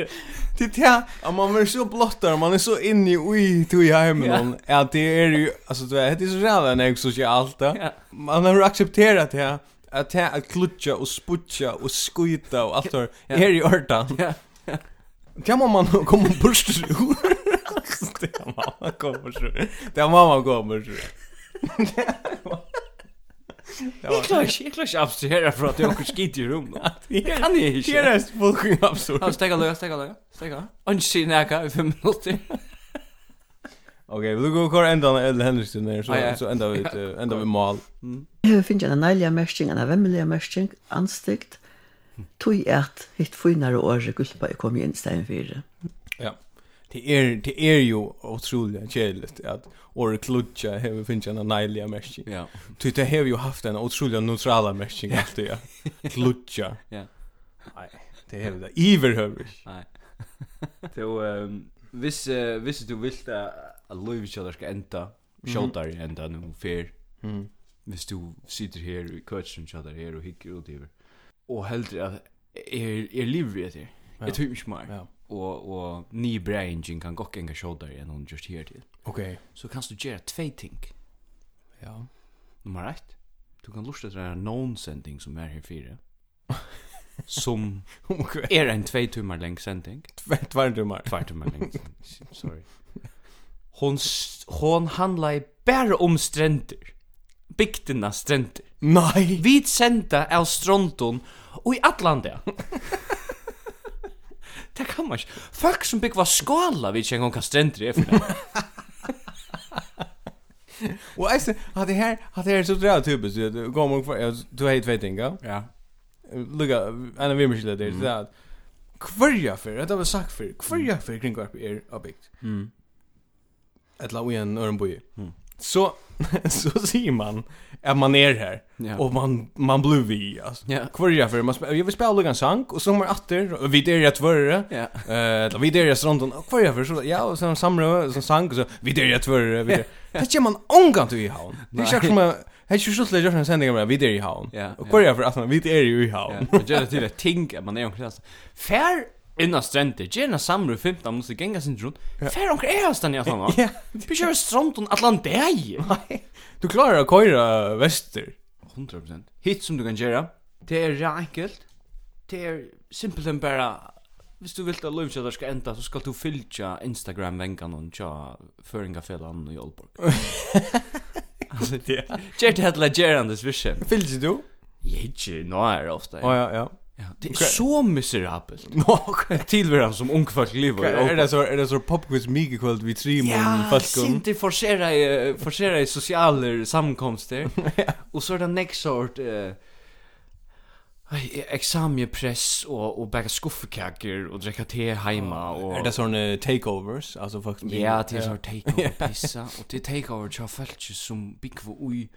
S3: Det är det att man är så blottar, man är så inne i ui tog i hemmen att det är ju, alltså det är så jävla när jag socialt
S2: Ja.
S3: det. Man har accepterat det att det att klutcha och sputcha och skjuta och allt det
S2: Ja.
S3: är i ordan.
S2: Ja.
S3: Det må man komma bort ur. Det må man komma bort ur. Det må man komma bort ur.
S2: Jeg klarer ikke, jeg klarer ikke abstrahere fra at det er okkur skit i rum. Det kan jeg
S3: Det er
S2: ikke.
S3: rest fucking absurd.
S2: Ja, stega løga, stega løga, stega. Anki sier neka i fem minutter.
S3: Ok, vil du gå kvar enda av Edel Henriksen her,
S2: Ja, ja.
S3: så, så enda vi, eh, enda vi mal.
S7: Jeg har finnet en neilige mersking, en vemmelig mersking, anstygt, tog at hitt er finere året gulpa jeg kom inn i stedet for.
S3: Ja. Det er, det er jo otroligt kärligt at Åre klutja hever finns en nejliga märkning.
S2: Ja,
S3: Ty det hever jo haft en otroligt neutrala märkning alltid, ja. Klutja.
S2: Ja.
S3: Nej, det hever det. Iverhöver.
S2: nei. Så, ehm, hvis, eh, hvis du vilt at Louis Kjallar skal enda, Kjallar enda nu, fyr,
S3: Mm.
S2: hvis du sitter her i køtsen Kjallar her og hikker ut iver, og heldur at er, er livet etter,
S3: Ja.
S2: jeg tror ikke mer,
S3: Ja.
S2: og, og ni brengin kan gokk enga Kjallar enn hun just her til,
S3: Okej.
S2: så kan du gjøre tvei ting.
S3: Ja.
S2: Nummer ett. Du kan lusta til den non-sending som er her fire. som
S3: Okej.
S2: er en tvei timmar leng sending.
S3: Tvärt varmt du mär.
S2: Tvei timmar leng. Sorry. Hon, s- hon handla i bare om strendir. Bygdina strendir.
S3: Nej.
S2: Vi senda av stronton og i allan det. Det kan man ikke. Folk som byggva skala vid ikke engang hva strendir er for det.
S3: Och alltså, har det här, har det här er så drar typiskt. Du går man kvar, du har ju två ting, ja.
S2: Ja. Mm.
S3: Lugga, en av vimmerskillet der, det er at hverja fyrir, dette var sagt fyrir, hverja fyrir kringvarp er avbyggt.
S2: Mm.
S3: Etla ui en ørenboi. Så, så sier man at man er her,
S2: Ja.
S3: og man, man blir vi, altså.
S2: Ja.
S3: Hverja fyrir, man spela, jeg vil spela lugga en sang, og så kommer atter, og vi der er tvørre,
S2: Ja.
S3: Eh, uh, vi der er stranden, og hverja fyrir, så, ja, og så samra, så sang, og så, vi der er tvørre, vi der. Det kommer man ångant i havn. Det er
S2: Nei.
S3: ikke som, eh, det er ikke så slik, jeg sendingar, vi der er i havn.
S2: Ja,
S3: Og
S2: ja.
S3: hverja fyrir, altså, vi der er i havn.
S2: Ja, og gjør det til et ting at man er omkring hans. Fær innan strendir, gjør en samru 15 minutter, genga sin rundt, fær omkring er hans den jeg sånn.
S3: Ja.
S2: Vi kjører stranden allan deg.
S3: Du klarar å køyra vester.
S2: 100%. Hitt som du kan gjøre, det er ja enkelt, det er simpelthen bare, hvis du vil at lovkjøder skal enda, så skal du fylltja Instagram-vengan og tja føringafellan i Aalborg. Altså, det Gjør det hettelig gjerandes visjen.
S3: Fylgjer du?
S2: Jeg ikke, nå er det ofte.
S3: Å ja, ja.
S2: Ja, det er så miserabelt.
S3: Nå, ok.
S2: Tilværen som ungfolk lever i
S3: Er
S2: Aalborg.
S3: det så er det så popquiz mega kvöld vi tre mun
S2: Ja,
S3: falkon.
S2: Sinti forsera i, forsera i sociala samkomster. Och så är det next sort eh examiepress och och bära skuffekakor och dricka te hemma och
S3: Er det sånne takeovers, alltså fuck me.
S2: Ja, det är så takeover pissa och det är takeover till folk som bygger ui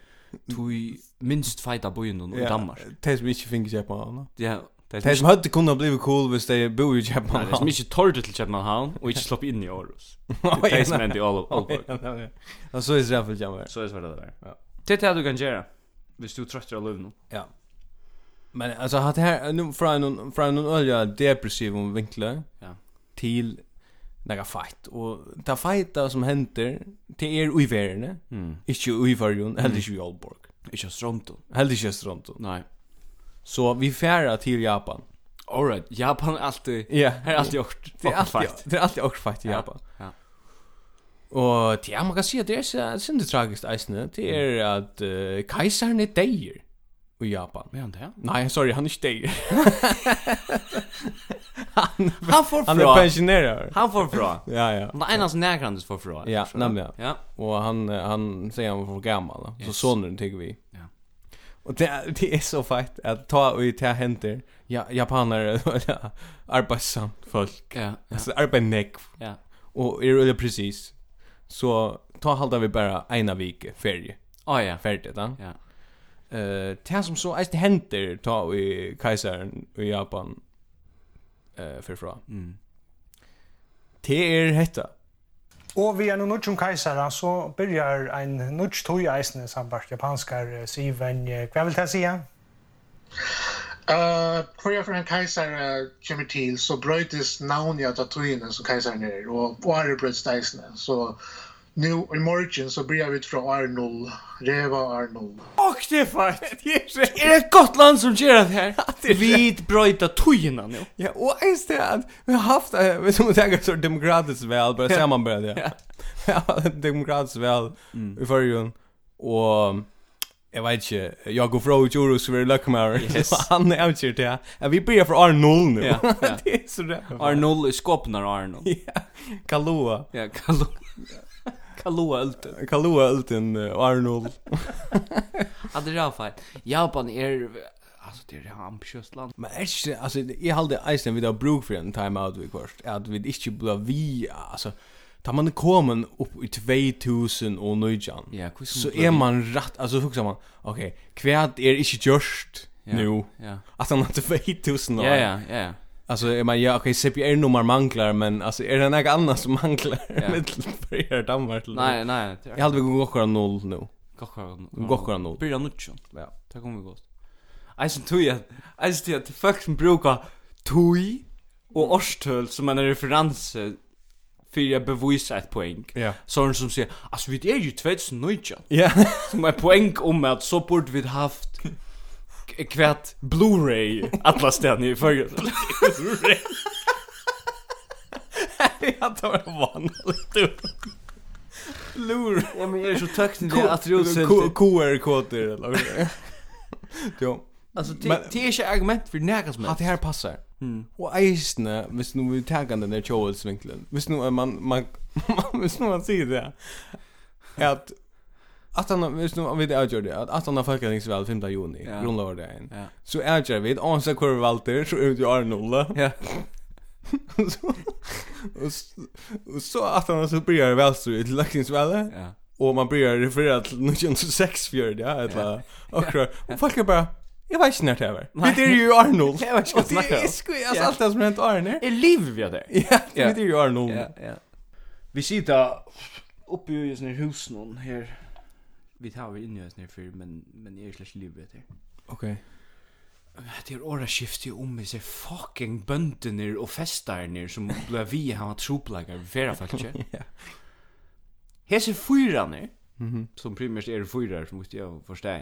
S2: tui minst feita bojen och i Danmark.
S3: Det som ikke finnes jeg på hana.
S2: Ja, det er
S3: Det er
S2: är
S3: som hadde kunnet bli cool hvis de bor
S2: Nej,
S3: i
S2: det är
S3: Japan.
S2: mycket torrt till Köpenhamn och inte slopp in i Aarhus. Det är som händer i Aalborg.
S3: Ja, så er det iallfall jammer.
S2: Så är det så det där.
S3: Ja.
S2: Det är det du kan göra. Hvis du tröttar av lövnum.
S3: Ja. Men alltså hade här nu från någon från någon olja depressiv om vinklar.
S2: Ja.
S3: Till några fight och ta fighta som händer till er i världen.
S2: Mm.
S3: Inte i världen, heller inte i Aalborg.
S2: Ikke stronton.
S3: Heller inte i Stronton.
S2: Nei.
S3: Så vi färra till Japan.
S2: All right. Japan er alltid
S3: Ja.
S2: Her er alltid gjort.
S3: Det är alltid det är alltid också fight i Japan.
S2: Ja.
S3: Och det man kan se att det är så synd tragiskt isne. Det är att uh, kejsaren är dejer i Japan.
S2: Men han det? er.
S3: Nej, sorry, han är inte dejer.
S2: Han får
S3: Han är pensionerad.
S2: Han får fra.
S3: Ja, ja.
S2: Han er en av hans nærgrandes får fra.
S3: Ja, nämligen.
S2: Ja.
S3: Och han eh, han säger han var för gammal då. Så
S2: Yes.
S3: sonen tycker vi.
S2: Ja.
S3: Och det är- det är så fett att ta och ta händer. Ja, japaner ja, arbetsamt folk.
S2: Ja. Ja.
S3: Alltså arbetneck
S2: Ja.
S3: och är det precis. Så ta halda vi bara ena vecka ferie.
S2: Å ja.
S3: Färdigt då.
S2: Ja.
S3: Eh, det som så är det händer ta i kejsaren i Japan eh för fra.
S2: Mm.
S3: Det är hetta.
S8: Og vi er nå nødt som kajsere, så begynner en nødt tog i eisene samarbeidt japanskar syven. Hva vil det si?
S9: Uh, Korea för en kejsare kommer till så bröjdes navnet av tatuinen som er. kejsaren är och Åre bröts dejsne. Så nu i morgon så börjar vi från Arnold, Reva Arnold.
S2: Och det är fett.
S3: er
S2: Det är ett gott land som gör Er det här. Vi bröjda tujorna nu.
S3: Ja, och ens det att vi har haft, eh, vi som tänker så demokratiskt väl, bara ser man bara
S2: Mm.
S3: det. Ja, demokratiskt väl i förrjun. Och Jag vet inte. Jag går från Jorus för Luckmar. Han är out here där. Ja, vi börjar för Arnold nu.
S2: Ja, ja.
S3: det är så där.
S2: Arnold i skåpnar Arnold.
S3: Ja. Kalua.
S2: Ja, Kalua. Kalua ulten.
S3: Kalua ulten eh, Arnold.
S2: Ja, det är fan. Japan är alltså det är ett ambitiöst land.
S3: Men är inte alltså jag hade Iceland vid av bruk för en time out vi först. Att vi inte blev vi alltså tar man kommer upp i 2000 och nöjan.
S2: Ja, hur
S3: Så är man rätt alltså hur man okej, kvärt är inte just
S2: Ja,
S3: nu.
S2: ja.
S3: Att han inte 2000 år.
S2: Ja, ja, ja.
S3: Alltså är man ja okej CPR nummer manglar men alltså är det något annat som manglar
S2: Ja.
S3: med för Danmark till.
S2: Nej, nej. det är-
S3: Jag hade vi gått kvar noll nu.
S2: Gokkar.
S3: Gokkar noll.
S2: Byrja nutjon.
S3: Ja.
S2: Det kommer vi gått. Eisen tui at, eisen tui at folk som brukar tui og årstøl som en referanse fyrir å bevisa et poeng.
S3: Ja.
S2: Sånn som sier, altså vi er jo 2019,
S3: Ja.
S2: som er poeng om at så burde vi haft k- kvært Blu-ray alla stedene i fyrir. Blu-ray?
S3: Jag tar vanligt. Lur.
S2: Ja, men jeg er så tøknig det at det
S3: K- QR-koder eller vad det är. Jo.
S2: Altså, det
S3: Men-
S2: det er ikke argument for nægast
S3: Att
S2: med.
S3: det här passar.
S2: Mm.
S3: Och eisne, hvis nu vi taggar den där Joelsvinkeln. Hvis nu är man, man, hvis nu man säger det. Är att Att han, hvis nu om vi det avgör det, att att han har folkräkningsval 5 juni,
S2: Ja.
S3: grundlagar det en.
S2: Ja.
S3: Så avgör vi, om så kurva Walter, så ut ju Arnold.
S2: Ja.
S3: så, och, s- och så att han så börjar välstyret till lökningsvalet.
S2: Ja.
S3: Och man börjar referera till 1906 fjörd, ja, eller och så. Och folk är er bara, jag vet inte när det är.
S2: Nej.
S3: Det är ju Arnold.
S2: Jag vet inte vad jag
S3: Och
S2: snackar om.
S3: Det är skoj, alltså
S2: Ja.
S3: er allt det som hänt Arne.
S2: Er livet vi av det?
S3: Ja, det
S2: Ja.
S3: är ju Arnold.
S2: Ja, ja. Vi sitter uppe i sån här hus någon här. Vi tar vi in i sån här för men men är slash livet här.
S3: Okej.
S2: Det er är åra skifte om i sig fucking bönderna och festarna som blev vi har troplagar flera faktiskt.
S3: Ja.
S2: Hese fyra nu. Mhm. Som primärt är det fyra som måste jag förstå.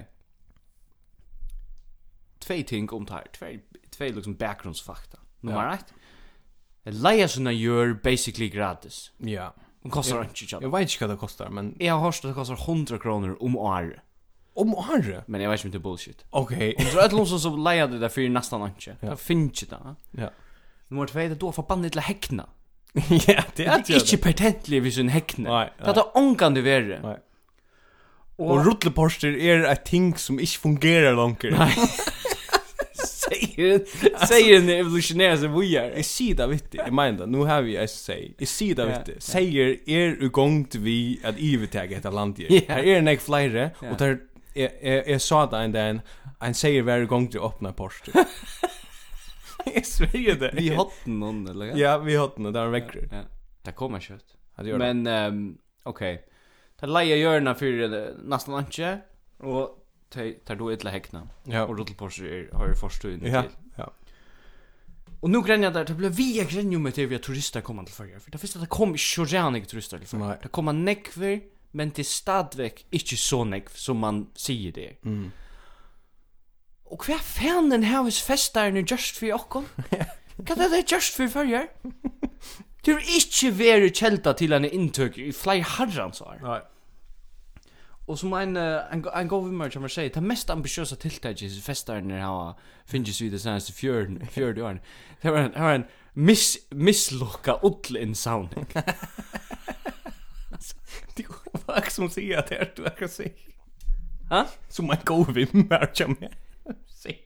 S2: Två ting um om det här. Två, två liksom bakgrundsfakta. Nummer ett. Leia såna gör basically gratis.
S3: Ja.
S2: Hon kostar inte tjata.
S3: Jag vet inte vad det kostar, men
S2: Jag har hørt at det kostar 100 kroner om året.
S3: om Arne.
S2: Men jag vet inte om det är er bullshit.
S3: Okej.
S2: Så ett lån som lejer det där för nästan inte. Det finns inte det.
S3: Ja.
S2: Nummer två, det är då förbannat till häckna.
S3: Ja, det
S2: Det
S3: är
S2: är inte
S3: det.
S2: pertentlig vid sin häckna.
S3: Nei,
S2: Det är det ångande
S3: Nei.
S2: värre.
S3: Och ruttleposter är ett ting som inte fungerar långt. Nej.
S2: Säger säger en evolutionär som vi är.
S3: Jag ser det vitt. Jag menar, nu har vi jag säg. Jag ser det
S2: Ja.
S3: vitt. Säger er ugongt vi att övertaga detta land ju.
S2: Ja.
S3: Här är nek flyre
S2: Ja.
S3: och där jag- jag jag sa det en dag en säger varje gång du öppnar poster. Jag svär det.
S2: Vi hatt någon eller?
S3: Ja, vi har den där väcker.
S2: Ja. Det kommer kött.
S3: Ja, det gör det.
S2: Men ehm okej. Det lejer görna för nästan inte och tar då ett häckna.
S3: Ja.
S2: Och rullporser har ju förstått
S3: Ja. Ja.
S2: Och nu gränjar där, det blev vi gränjar med det vi har turister kommer till förra. För det första, det kom inte så redan inte turister till förra.
S3: Nej.
S2: Det kommer nekver, men det är stadväck inte så nekv som man säger det. Mm. Och vad fan den här hos festar nu just för åkon? Kan det är just för förra? Det är inte varit kälta till en intök i fler herrans år.
S3: Nej.
S2: Och som en eh, en go- en god vimmer som jag säger, det mest ambitiösa tilltaget i festaren när han finns vid det senaste fjörden, fjörde åren. Det var en, det var en miss, misslocka utlinsamling.
S3: Det var också
S2: um
S3: som säger att det är du kan se.
S2: Ha?
S3: Som man går vi märker med. Se.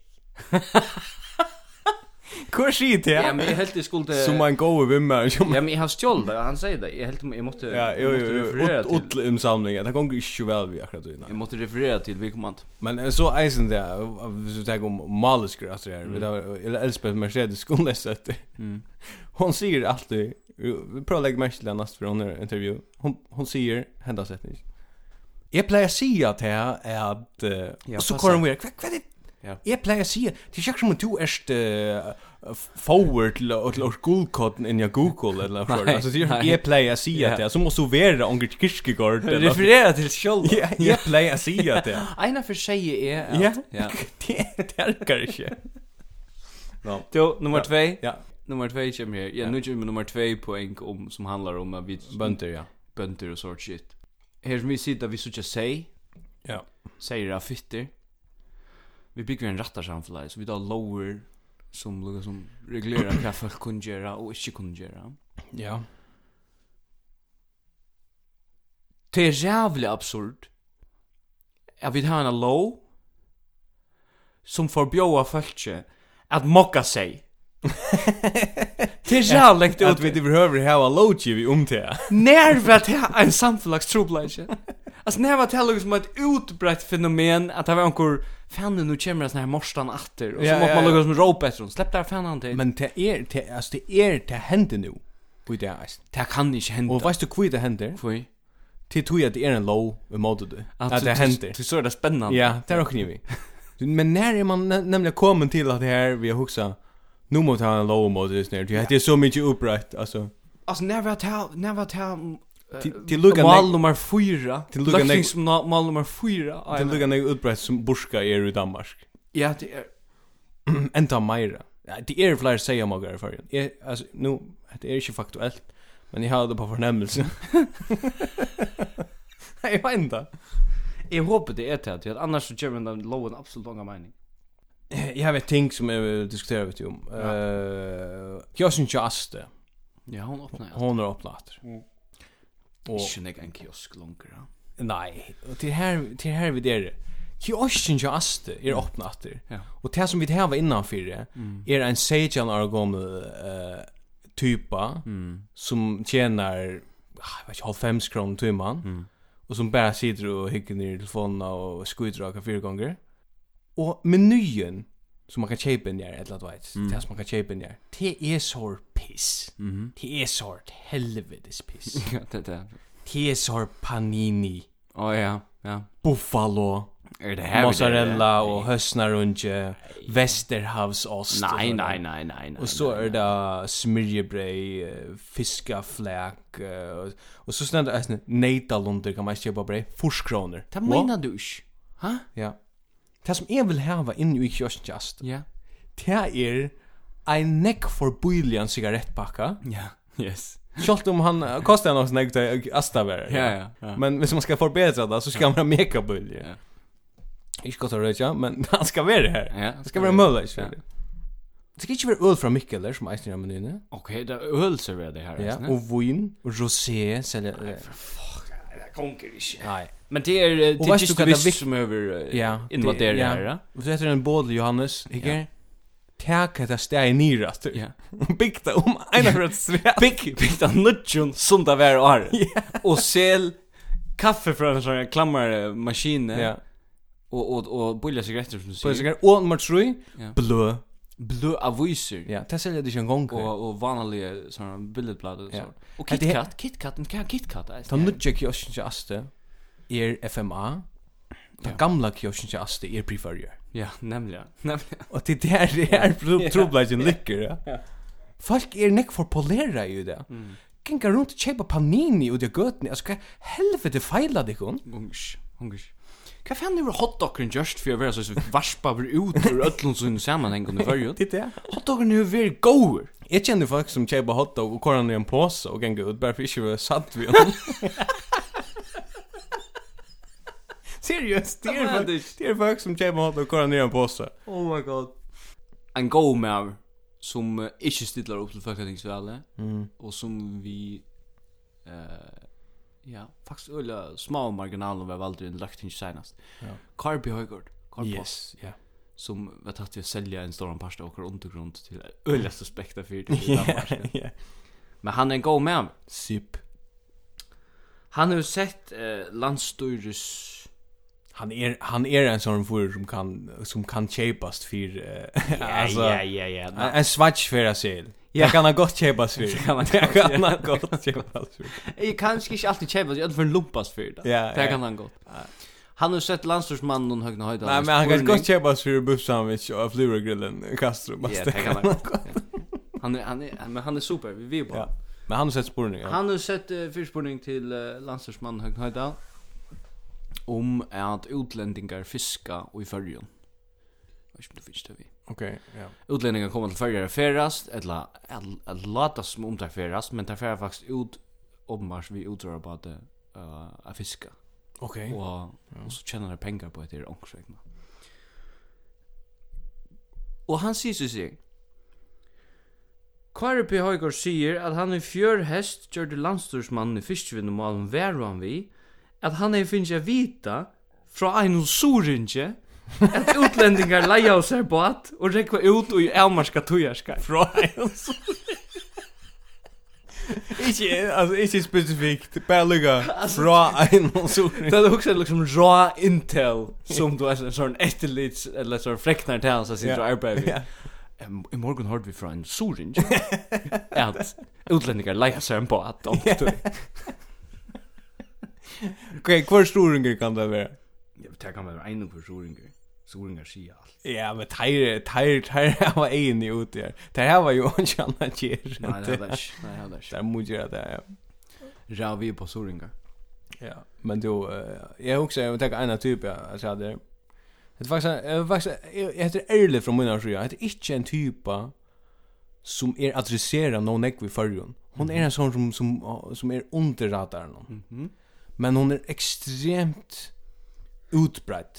S3: Hur skit er det?
S2: Ja, men eh, jag helt skulle...
S3: Som man går vi märker med.
S2: Ja, men jag har stjål det, han säger det. Jag helt, jag måste,
S3: Ja, jo
S2: jag måste
S3: jo.
S2: referera till...
S3: Utle um samlingar. Det går inte väl vi akkurat innan.
S2: Jag måste referera till Vigmant.
S3: Men eh, så eisen det så tag om malisker alltså det här. Vi tar- eh, Eller Elspeth Mercedes er skollässätt.
S2: Mm.
S3: Hon säger alltid vi prövar lägga märke till henne för hon är er intervju. Hon hon säger hända sättning. Jag plejer säga att här är att eh,
S2: Ja,
S3: och så
S2: passa.
S3: kommer hon vidare. Kvack kvack.
S2: Ja.
S3: Jag plejer säga det känns som att du är eh, forward till till skolkoden i Google eller vad det er.
S2: Nej,
S3: är. Alltså det är-
S2: nej.
S3: jag plejer säga att
S2: Ja.
S3: det er så måste du vara om kirkegård eller
S2: Referera till stjål
S3: Ja, jag plejer att säga det. er.
S2: Ena för sig är...
S3: Ja.
S2: ja.
S3: Det tärkar inte. No.
S2: Då, nummer två.
S3: Ja,
S2: Nummer två kommer här. Ja, nu kommer nummer två poäng om, som um handlar om att vi...
S3: bönter ja.
S2: bønder og sort shit. Her som vi sitter, vi sitter seg,
S3: Ja.
S2: säger att fitter. Vi bygger en rattarsamfälle så vi tar lower som lukar som reglerar hva folk kun gjøre og ikke kun gjøre.
S3: Ja.
S2: Det er jævlig absurd at vi har en lov som forbjóa folk at mokka seg. det er jævlig
S3: Att
S2: ut
S3: vi behöver ha logi vi om det.
S2: När var det en samfelags trobladje? Alltså när var det liksom som ett utbrett fenomen att det var ankor fan nu kommer det såna här morstan atter och så
S3: Ja,
S2: måste
S3: ja,
S2: man
S3: ja.
S2: lukka som ropa efter dem. Släpp där fan han till. Men
S3: Men det är det alltså det är det händer nu. På det er. är.
S2: det här kan inte hända.
S3: Och vet du hur det händer?
S2: får vi?
S3: Till tror jag det är en low emot det. Att det händer.
S2: Det så är det spännande.
S3: Ja, det er är också vi. Men er när är man nä- nämligen kommer till att det här vi har huxat Nu måste han ha en low mode just nu. Det är så mycket upprätt alltså.
S2: Alltså när var det här när var det här
S3: Till- Till lucka
S2: Mal nummer 4.
S3: Till
S2: Till
S3: lukka
S2: lucka
S3: nek-
S2: mal nummer 4.
S3: till lucka när utbrett som burska är i er Danmark.
S2: Ja, det är
S3: enda meira. Ja, det er flere sier om åker i fargen. Jeg, altså, nu, det er ikke faktuelt, men jeg har det på fornemmelse. Nei, jeg vet ikke.
S2: Jag hoppas det är det här, till att annars så kommer den lowen absolut långa mening.
S3: Jeg vet ting som jeg vil diskutere vet du om. Uh, jeg synes ikke Aste,
S2: Ja, hon öppnar. Hon
S3: hun er opplater. Og,
S2: är inte en kiosk långt.
S3: nei, og til her, til her vi dere. Kiosken til Aste er åpnatter.
S2: Ja.
S3: Og det som vi har innanfyrir er en 16 år gammel uh, typa som tjener ah, jag vet inte, 95 kronor till man och som bara sitter och hygger ner i telefonen och skjuter raka fyra gånger. Och menyn som man kan köpa in där ett eller annat mm. det som man kan köpa in där det är så er piss. Det är så helvetes piss.
S2: Ja, det det.
S3: det är så panini,
S2: Åh ja, ja.
S3: buffalo,
S2: Är Er det här vi-
S3: mozzarella och höstnarunge, västerhavsost. och
S2: Nej,
S3: sådär.
S2: nej, nej, nej, nej.
S3: Och så är det smörjebröd, eh, fiskafläk eh, och- och så snälla är det nejtalunder kan man köpa bröd, forskronor.
S2: Det menar du inte. Ha?
S3: Ja. Det som jag vill ha inne i kioskjast,
S2: Ja.
S3: det er är en neck för billigan cigarettpacka.
S2: Ja. Yes.
S3: Kjolt om han eh, kostar han också neck till Astaver.
S2: Ja, ja, ja.
S3: Men hvis man ska förbättra det så ska man ha mega billig.
S2: Ja.
S3: Ikke godt å røyja, men han skal være her.
S2: Ja,
S3: han skal være mulig. Ja. Det skal ikke være øl fra Mikkeller, som eisen i menyene.
S2: Okej, det är ölservär det här.
S3: Ja,
S2: alltså, ne?
S3: og vin, og rosé, selja... eh,
S2: det konkar inte.
S3: Nei.
S2: Men det är eh, det
S3: Och vet
S2: är
S3: du
S2: just
S3: vad
S2: det
S3: det
S2: vi
S3: vill-
S2: som eh, över
S3: Ja.
S2: invaderar det här. ja.
S3: Og så heter den Bådel Johannes, ikke? Tæk etter steg i nyrast.
S2: Ja.
S3: Bygg det om ena for et svært.
S2: Big big the nudgeon som det var år. Och sel kaffe från en sån här klammar maskin eh,
S3: Ja.
S2: och och och bullar cigaretter som du
S3: Så
S2: säger.
S3: jeg og nummer 3,
S2: Ja.
S3: blø.
S2: Blå aviser.
S3: Ja, det selja det ikke en gong. Og
S2: och och vanliga såna billigblad och
S3: Ja.
S2: så. Och
S3: Ja, det-
S2: KitKat, KitKat, en KitKat. alltså,
S3: ta
S2: ja.
S3: nudja kiosken til Aste, er FMA. Ta gamla kiosken til Aste er preferier.
S2: Ja, nämligen. Nämligen.
S3: Og det der det er tro- trobladjen lykker, ja. Folk er nekk for polera i det. Gengar rundt og kjeipa panini ut i gøtene. Altså, hva helvete feila dikon?
S2: Mm. Hungers. Hungers. Hva fan er hotdogren just for å være så varspa over ut ur ötlun sin sammanhengende fyrjun?
S3: Det er.
S2: Hotdogren er veldig goer.
S3: Jeg kjenner folk som kjeipa hotdog og koran i en pose og gengar ut, bare for ikke å være satt vi om. Seriøst, det er folk, det er folk som kjeipa hotdog og koran i en pose.
S2: Oh my god. En go med som eh, ikke stiller opp til folketingsvalget, og som vi eh ja, faktisk øyla små marginaler vi har valgt i en lagt inn senast.
S3: Ja.
S2: Carby Høygaard, Carby
S3: ja.
S2: som vi har tatt til å selge en stor parst av åker undergrunn til øyla suspekta fyrt i Danmark. ja.
S3: Ja.
S2: Men han er en go med
S3: Sip.
S2: Han har jo sett eh, landstyres
S3: Han är han är en sån för som kan som kan chapast för eh, alltså
S2: ja, ja.
S3: En en swatch för att se. Jag kan ha gott chepas för. Jag
S2: man
S3: kan ha gott chepas för.
S2: Jag kan inte er alltid kämpa, jag är för en lumpas för det.
S3: Ja,
S2: det
S3: ja.
S2: kan han gott. Han har sett landstyrsmannen och högna höjda.
S3: Nej men han kan gott chepas för buff sandwich och flurgrillen i eh, Castro
S2: Ja,
S3: bast.
S2: det kan han gott. Han är, han är, men han är super, vi vet bara.
S3: Ja. Men han har sett spåren ja.
S2: Han har sett uh, fyrspårning till uh, landstyrsmannen högna höjda om att utlänningar fiska och i färgen. Jag vet inte om du finns det vi.
S3: Okej, ja.
S2: utlendingar koma til fyrjar ferast, eller at lata som om det ferast, men det ferar faktisk ut, åpenbart vi utrører på eh, at uh, a fiska.
S3: Okej.
S2: og, og så tjener han penger på er etter ångsregna. Og han sier så sier, Kari P. Høygaard sier at han i fjør hest gjør det landstorsmannen i fyrstvinnumalen han vi, at han er finnes jeg vita fra en og sorinje at utlendingar leia av seg båt og rekva ut og i avmarska tujarskar.
S3: Fries. Ikke, altså, ikke spesifikt, bare lukka fra en og så.
S2: Det är också liksom raw intel som du är en sån efterlits eller sån fräcknar till hans sin arbete. I morgon hörde vi från en sorinj att utlänningar lejer sig en båt och
S3: Ok, hver storinger kan det være?
S2: det kan vara en för soringar. Soringar säger allt.
S3: Ja, men teir, teir, teir hava egin i ute her. Teir hava jo ikke anna kjer.
S2: Nej, det är det. Nej, det är
S3: Teir må gjøre det, ja.
S2: det. Raw vi på soringar.
S3: Ja, men då eh jag också jag vill ta en typ jag sa det. Det var faktiskt jag faktiskt jag heter Erle från mina sjö. Jag heter inte en typa som är adresserad någon ek vid förrun. Hon är en sån som som som är under radarn. Men hon är extremt utbredd.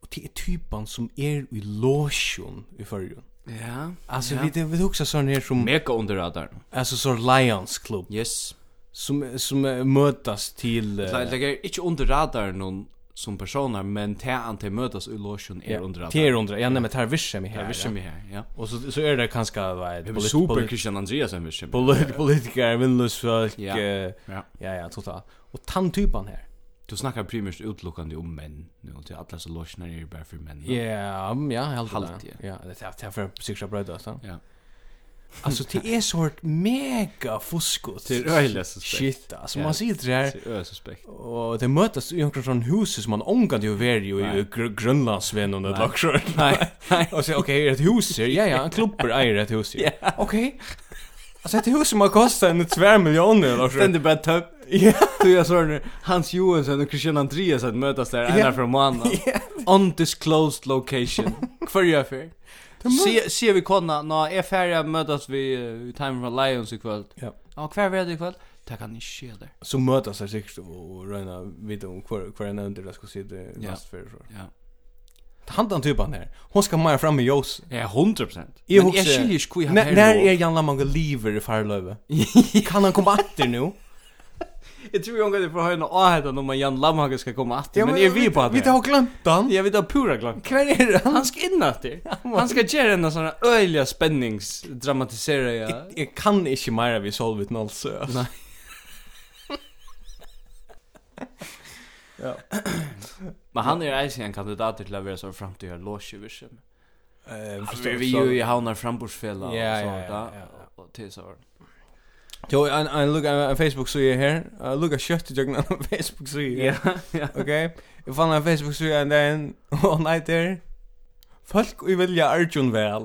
S3: Och det är typen som är i lotion i förrun.
S2: Ja.
S3: Alltså
S2: Ja.
S3: vi det vi också sån här som
S2: Mega under radarn.
S3: alltså så Lions Club
S2: Yes.
S3: som som eh, mötas till eh,
S2: Det är inte under radarn någon som personer men te ante mötas i lotion er är under radarn.
S3: Tier under. Ja, nej men tar vissa mig här.
S2: Ja, vi ser
S3: Vissa mig.
S2: mig här, ja.
S3: Och så så är det kanske vad
S2: Det är super Christian Andreasen vi ser. mig.
S3: polit politiker vinnlös folk.
S2: Ja.
S3: eh,
S2: Ja.
S3: Ja, ja, totalt. Och tant typen här.
S2: Du snackar primärt utelukkande om män nu till alla så lossnar er är bara för män.
S3: Ja, mm, ja, helt
S2: Halt,
S3: det. Ja, det är det är för sig själva bröd alltså.
S2: Ja.
S3: Alltså det är sort mega fuskot.
S2: Det är öjligt suspekt.
S3: Shit, alltså
S2: Ja.
S3: man ser det här.
S2: Det är suspekt.
S3: Och det mötas i några sån hus som man omgått ju ver ju
S2: Nej.
S3: i Gr- Grönlandsvän och något laxor.
S2: Nej, nej.
S3: Och så okej, är det ett hus här? Ja ja, en klubber är det ett hus här. Okej. Alltså ett hus som har kostat en tvär miljon eller så.
S2: Ständigt bara töpp.
S3: Ja.
S2: er Du jag såg nu Hans Johansson och Christian Andreasen mötas där ena från mannen. Undisclosed location. Kvar gör för? Se se vi konna när är färja mötas er vi eh, i Time for Lions ikväll.
S3: Ja.
S2: Ja, kvar vi det ikväll. Det kan ni ske där.
S3: Så mötas de sig och röna vid om kvar kvar en under det ska se det
S2: Ja.
S3: mest för så.
S2: Ja.
S3: Han den typen här. Hon ska maja fram med Jos.
S2: Ja, 100%.
S3: Jag
S2: er Men
S3: hugsa-
S2: jag skiljer ju hur han
S3: När
S2: här.
S3: när
S2: nu.
S3: är er Jan Lamang lever i Farlöve? Kan han komma åter nu?
S2: Jag tror jag går för höna och heter när man Jan Lamhage ska komma att. Men är vi på det?
S3: Vi har glömt han.
S2: Jag vet att pura glömt. Kvar är
S3: er
S2: det? Han ska in att det. Han ska göra en sån här öjliga spännings dramatisera ja.
S3: Jag kan inte mera vi solvit noll så.
S2: Nej.
S3: Ja.
S2: Men han är ju en kandidat till att vara så framtida låsjuvism.
S3: Eh,
S2: Vi vi ju i havnar frambursfälla och
S3: Ja, ja,
S2: sånt
S3: ja,
S2: där.
S3: ja,
S2: Och till så.
S3: Jo, en en look en Facebook så är här. Jag Eh, look kött jag på Facebook så är.
S2: ja.
S3: Okej. Jag fann en Facebook så är den och nej där. Folk vi vill jag Arjun väl.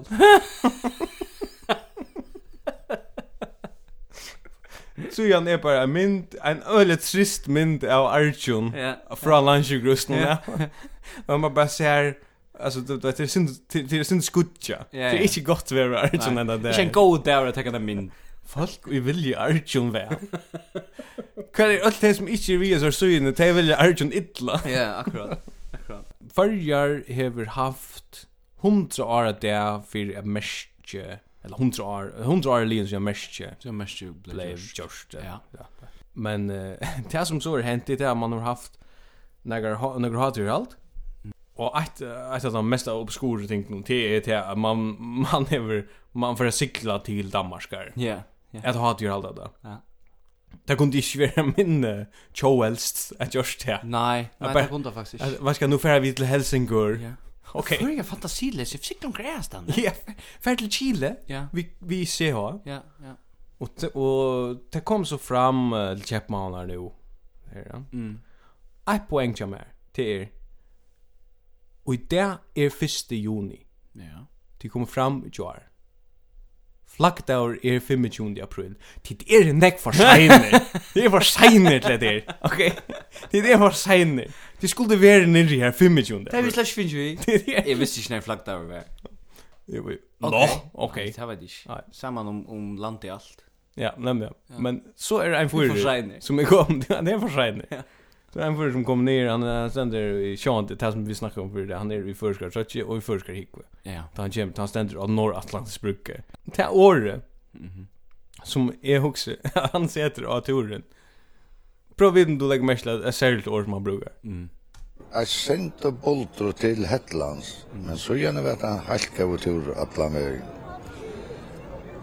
S3: Så jag är er bara en mynd, en öle trist mynd av Arjun
S2: Ja.
S3: från Landsjugrusten. Ja. Men man bara ser alltså det det är er synd det är synd skutja. Det
S2: Ja,
S3: är
S2: ja.
S3: inte gott vara Arjun ända där.
S2: Det är en god där att ta den min.
S3: Folk vi vilja Arjun vær. Kvar er alt det som ikkje vi er så inne, det vilja Arjun illa.
S2: Ja, akkurat. Akkurat.
S3: Førjar hever haft 100 år at det fyrir a merke, eller 100 år, 100 år lijen som jeg merke,
S2: Så mest ju
S3: blei
S2: blev.
S3: gjørst.
S2: Ja.
S3: Men eh, det som så er hent i det er at man har haft negar hater i alt, Og ett ett av de mest obskura tingen det är det att man man hever man får cykla till Danmarkar.
S2: Ja. Ja.
S3: Jag har ju allt det.
S2: Ja.
S3: Det kunde inte vara min Joelst att just det.
S2: Nej,
S3: Jag
S2: nej,
S3: bara-
S2: det kunde jag faktiskt.
S3: Att, Vad ska nu färra vi till Helsingör?
S2: Ja. Hur
S3: Okej.
S2: är jag fantasilös? Jag fick någon gräs där.
S3: Ja, färra till Chile.
S2: Ja.
S3: Vi vi ser här.
S2: Ja, ja.
S3: Och det- och det kom så fram eh, till Chapman nu. Här då.
S2: Mm.
S3: Ett poäng till mer till er. Och det är 1 er juni.
S2: Ja.
S3: Det kommer fram i jar. Flaggdagur er 25. april. Tid er nekk for seiner. Det er for seiner til det er. Ok? Tid er for seiner. Det skulle være nirri her 25.
S2: Det er är vi
S3: april.
S2: slash finns vi. Jag visste inte när flagg där var.
S3: Jo, jo. er Nå, ok.
S2: Det er var det.
S3: Nej.
S2: Samman om om land i allt.
S3: Ja, nemlig. Men så er det en
S2: Det er for
S3: fyrir
S2: seiner.
S3: som er kom. Ja, Det er for seiner. Det är en för som kommer ner, han är ständer i Sean, det här som vi snackade om för det, han är i förskar Trötje och i förskar Hikve.
S2: Ja.
S3: Ta han kommer, han ständer av Norratlantisk brukar. Det här året, som är också, han sätter av turen. Prøv vid om du lägger mest till ett särskilt år som han brukar.
S10: Jeg sendte bolter til Hetlands, men så gjerne vet han helt gav tur atlan veien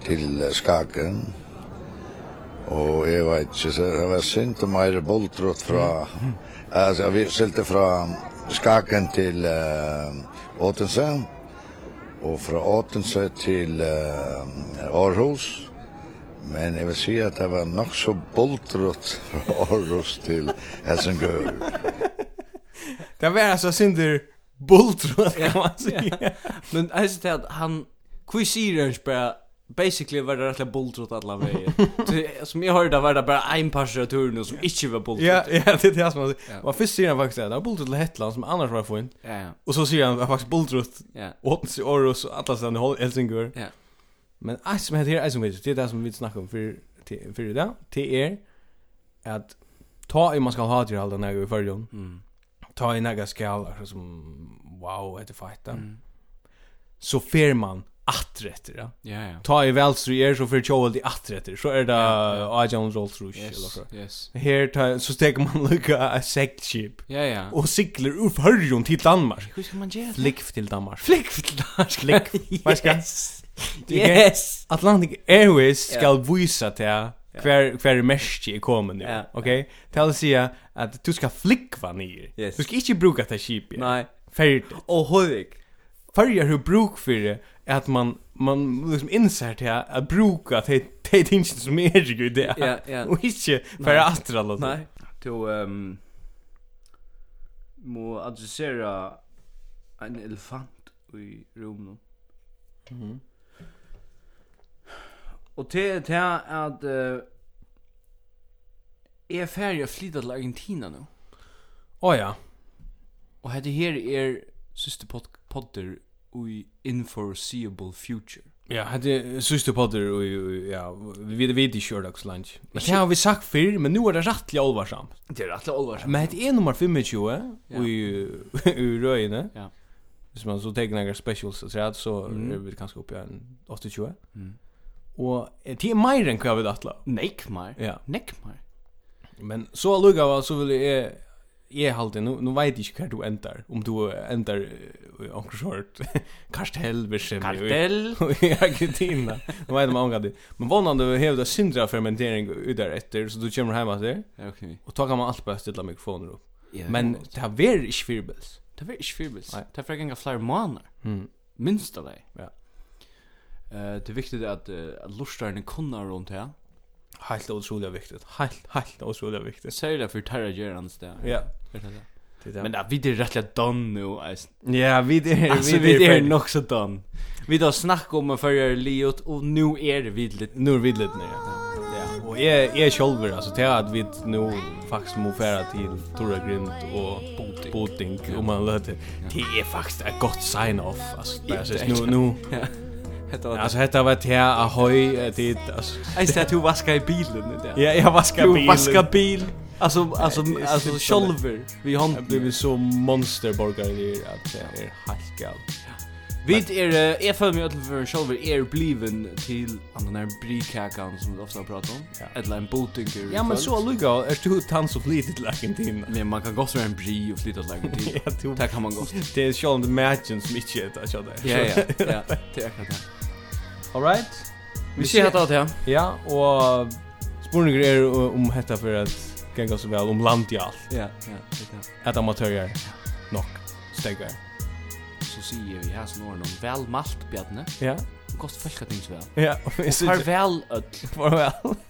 S10: til eh, Skagen. Og jeg vet ikke, så det var sendt mer bolter fra, altså vi sendte fra Skagen til uh, Åtense, og fra Åtense til uh, Aarhus. Men jeg vil si at det var nok så boltrott fra Aarhus til Helsingør.
S3: Det var alltså Cinder Bultron kan man säga.
S2: Men jag ser att han quizirens bara basically var det rätt bultrot alla vägen. Det- Som jag hörde var det bara en passare tur nu som inte var bultrot.
S3: Ja, ja, det är det som man
S2: Ja.
S3: säger. Man först ser han faktiskt att det var Bultron till Hetland som annars var fint.
S2: Ja,
S3: Och så ser han faktiskt Bultrot
S2: ja.
S3: Åtens i Aarhus och alla ställen i Hol- Helsingör.
S2: Ja.
S3: Men allt som heter här, allt som heter, det är det som vi snackar om för, till- för idag. Det är att ta i man ska ha till alla när vi följer
S2: Mm.
S3: Ta i några skall alltså, som wow, det är fight.
S2: Mm.
S3: Så er fer man att rätt det.
S2: Ja, ja.
S3: Ta i vänster er så för Joel i att rätt Så är det Ajahn Rolls Rush eller
S2: Yes,
S3: så.
S2: yes.
S3: Här tar, så steker man lucka a sex ship
S2: Ja, ja.
S3: och cyklar ur förrjon till Danmark.
S2: Hur ska man göra?
S3: Flick till Danmark.
S2: Flick flick.
S3: Flick. Vad ska-
S2: Yes. Yes.
S3: Atlantic Airways skal visa til hver, hver mestje er kommet nu,
S2: Ja.
S3: ok? Til å si at du skal flikva nyer.
S2: Yes.
S3: Du skal ikke bruka det skipet.
S2: Nej.
S3: Ferdig.
S2: Och Hodik.
S3: Färger hur bruk för det är att man, man liksom inser till att bruka det det ting som är ju det.
S2: Ja, ja.
S3: Och inte för
S2: Nej.
S3: att alla det.
S2: Nej. Du ehm må adressera en elefant i rummet. Mhm. Og til til at eh er ferdig å flytte til Argentina nå.
S3: Åh ja.
S2: Og hette her er siste pod podder i Inforeseeable Future.
S3: Ja, er hade syster podder och ja, vi vet inte kör dags lunch. Men det har vi sagt förr, men er nu är det rättliga allvarsamt.
S2: Det er rettelig alvorsamt.
S3: Men det är nummer 25 och i i röjne.
S2: Ja.
S3: Hvis man så tar några specials och sådär så
S2: Mm.
S3: är vi kanske uppe i en 80-20.
S2: Mm.
S3: Och eh, det är mer än vad vi dattla.
S2: Nekmar.
S3: Ja.
S2: Nekmar.
S3: Men så lugga var så vill jag jag halte nu nu vet jag inte hur du ändar om eh, du ändar onkel short kartell bestämmer
S2: Kartell.
S3: i Argentina. Nu vet man angående. Men vannan du hävda syndra fermentering ut där efter så du kommer hem att det
S2: Okay.
S3: och tar man allt på att ställa mikrofoner upp.
S2: Ja,
S3: Men det här är inte fyrbels.
S2: Det var ikke fyrbils.
S3: Nei.
S2: Det er for ganga flere måneder.
S3: Mm.
S2: Minst av deg.
S3: Ja.
S2: Eh, det er viktig at, uh, at lortarene kunne rundt her.
S3: Helt otroligt viktigt. Helt helt otroligt
S2: Det
S3: viktigt.
S2: sier det for terra gerans det.
S3: Ja.
S2: Det er det.
S3: Det där.
S2: Men da, vi er rettelig done nå, eisen.
S3: ja, vi det
S2: Altså, vi er nok så done. Vi da snakk um om å følge livet, og nå er det vidlig.
S3: nu är vi lite nere. Ja, och jag är själv alltså till att vi nu faktiskt må färra till Torra Grind och Boting om man låter. Det er är faktiskt ett gott sign off alltså. Bara er så nu nu
S2: Hette var det.
S3: alltså heter vad det är ahoy det alltså.
S2: Eisen, det er at du vaskar i bilen. Det.
S3: Ja, jag vaskar
S2: Du
S3: bilen.
S2: vaskar bil. Altså, altså,
S3: det er
S2: altså,
S3: simpelthen-
S2: sjolver vi
S3: Jag
S2: hånden.
S3: blev er så monsterborgare i att det är helt galet.
S2: Vi er, eh, jeg føler meg at for sjolver er bliven til er an den her brikakan som vi ofte har pratet om.
S3: Ja.
S2: Eller en botinker.
S3: Ja, men så lugga är er du tans och flitigt till Argentina.
S2: Men man kan godt være en bri og flytte til Argentina.
S3: Ja, du.
S2: Det kan man godt.
S3: Det är själva matchen som er inte är att jag där.
S2: Ja, ja, ja. Det er akkurat det.
S3: All right.
S2: Vi ser hatt av det, ja.
S3: Ja, og spurningar er uh, om hetta for at ganga så vel om land i alt.
S2: Ja, ja, det er det.
S3: At amatørar nok stegar.
S2: Så sier vi her som åren om vel malt, Bjarne.
S3: Ja.
S2: Godt folketings vel.
S3: Ja, og vi
S2: Farvel, ødel.
S3: farvel.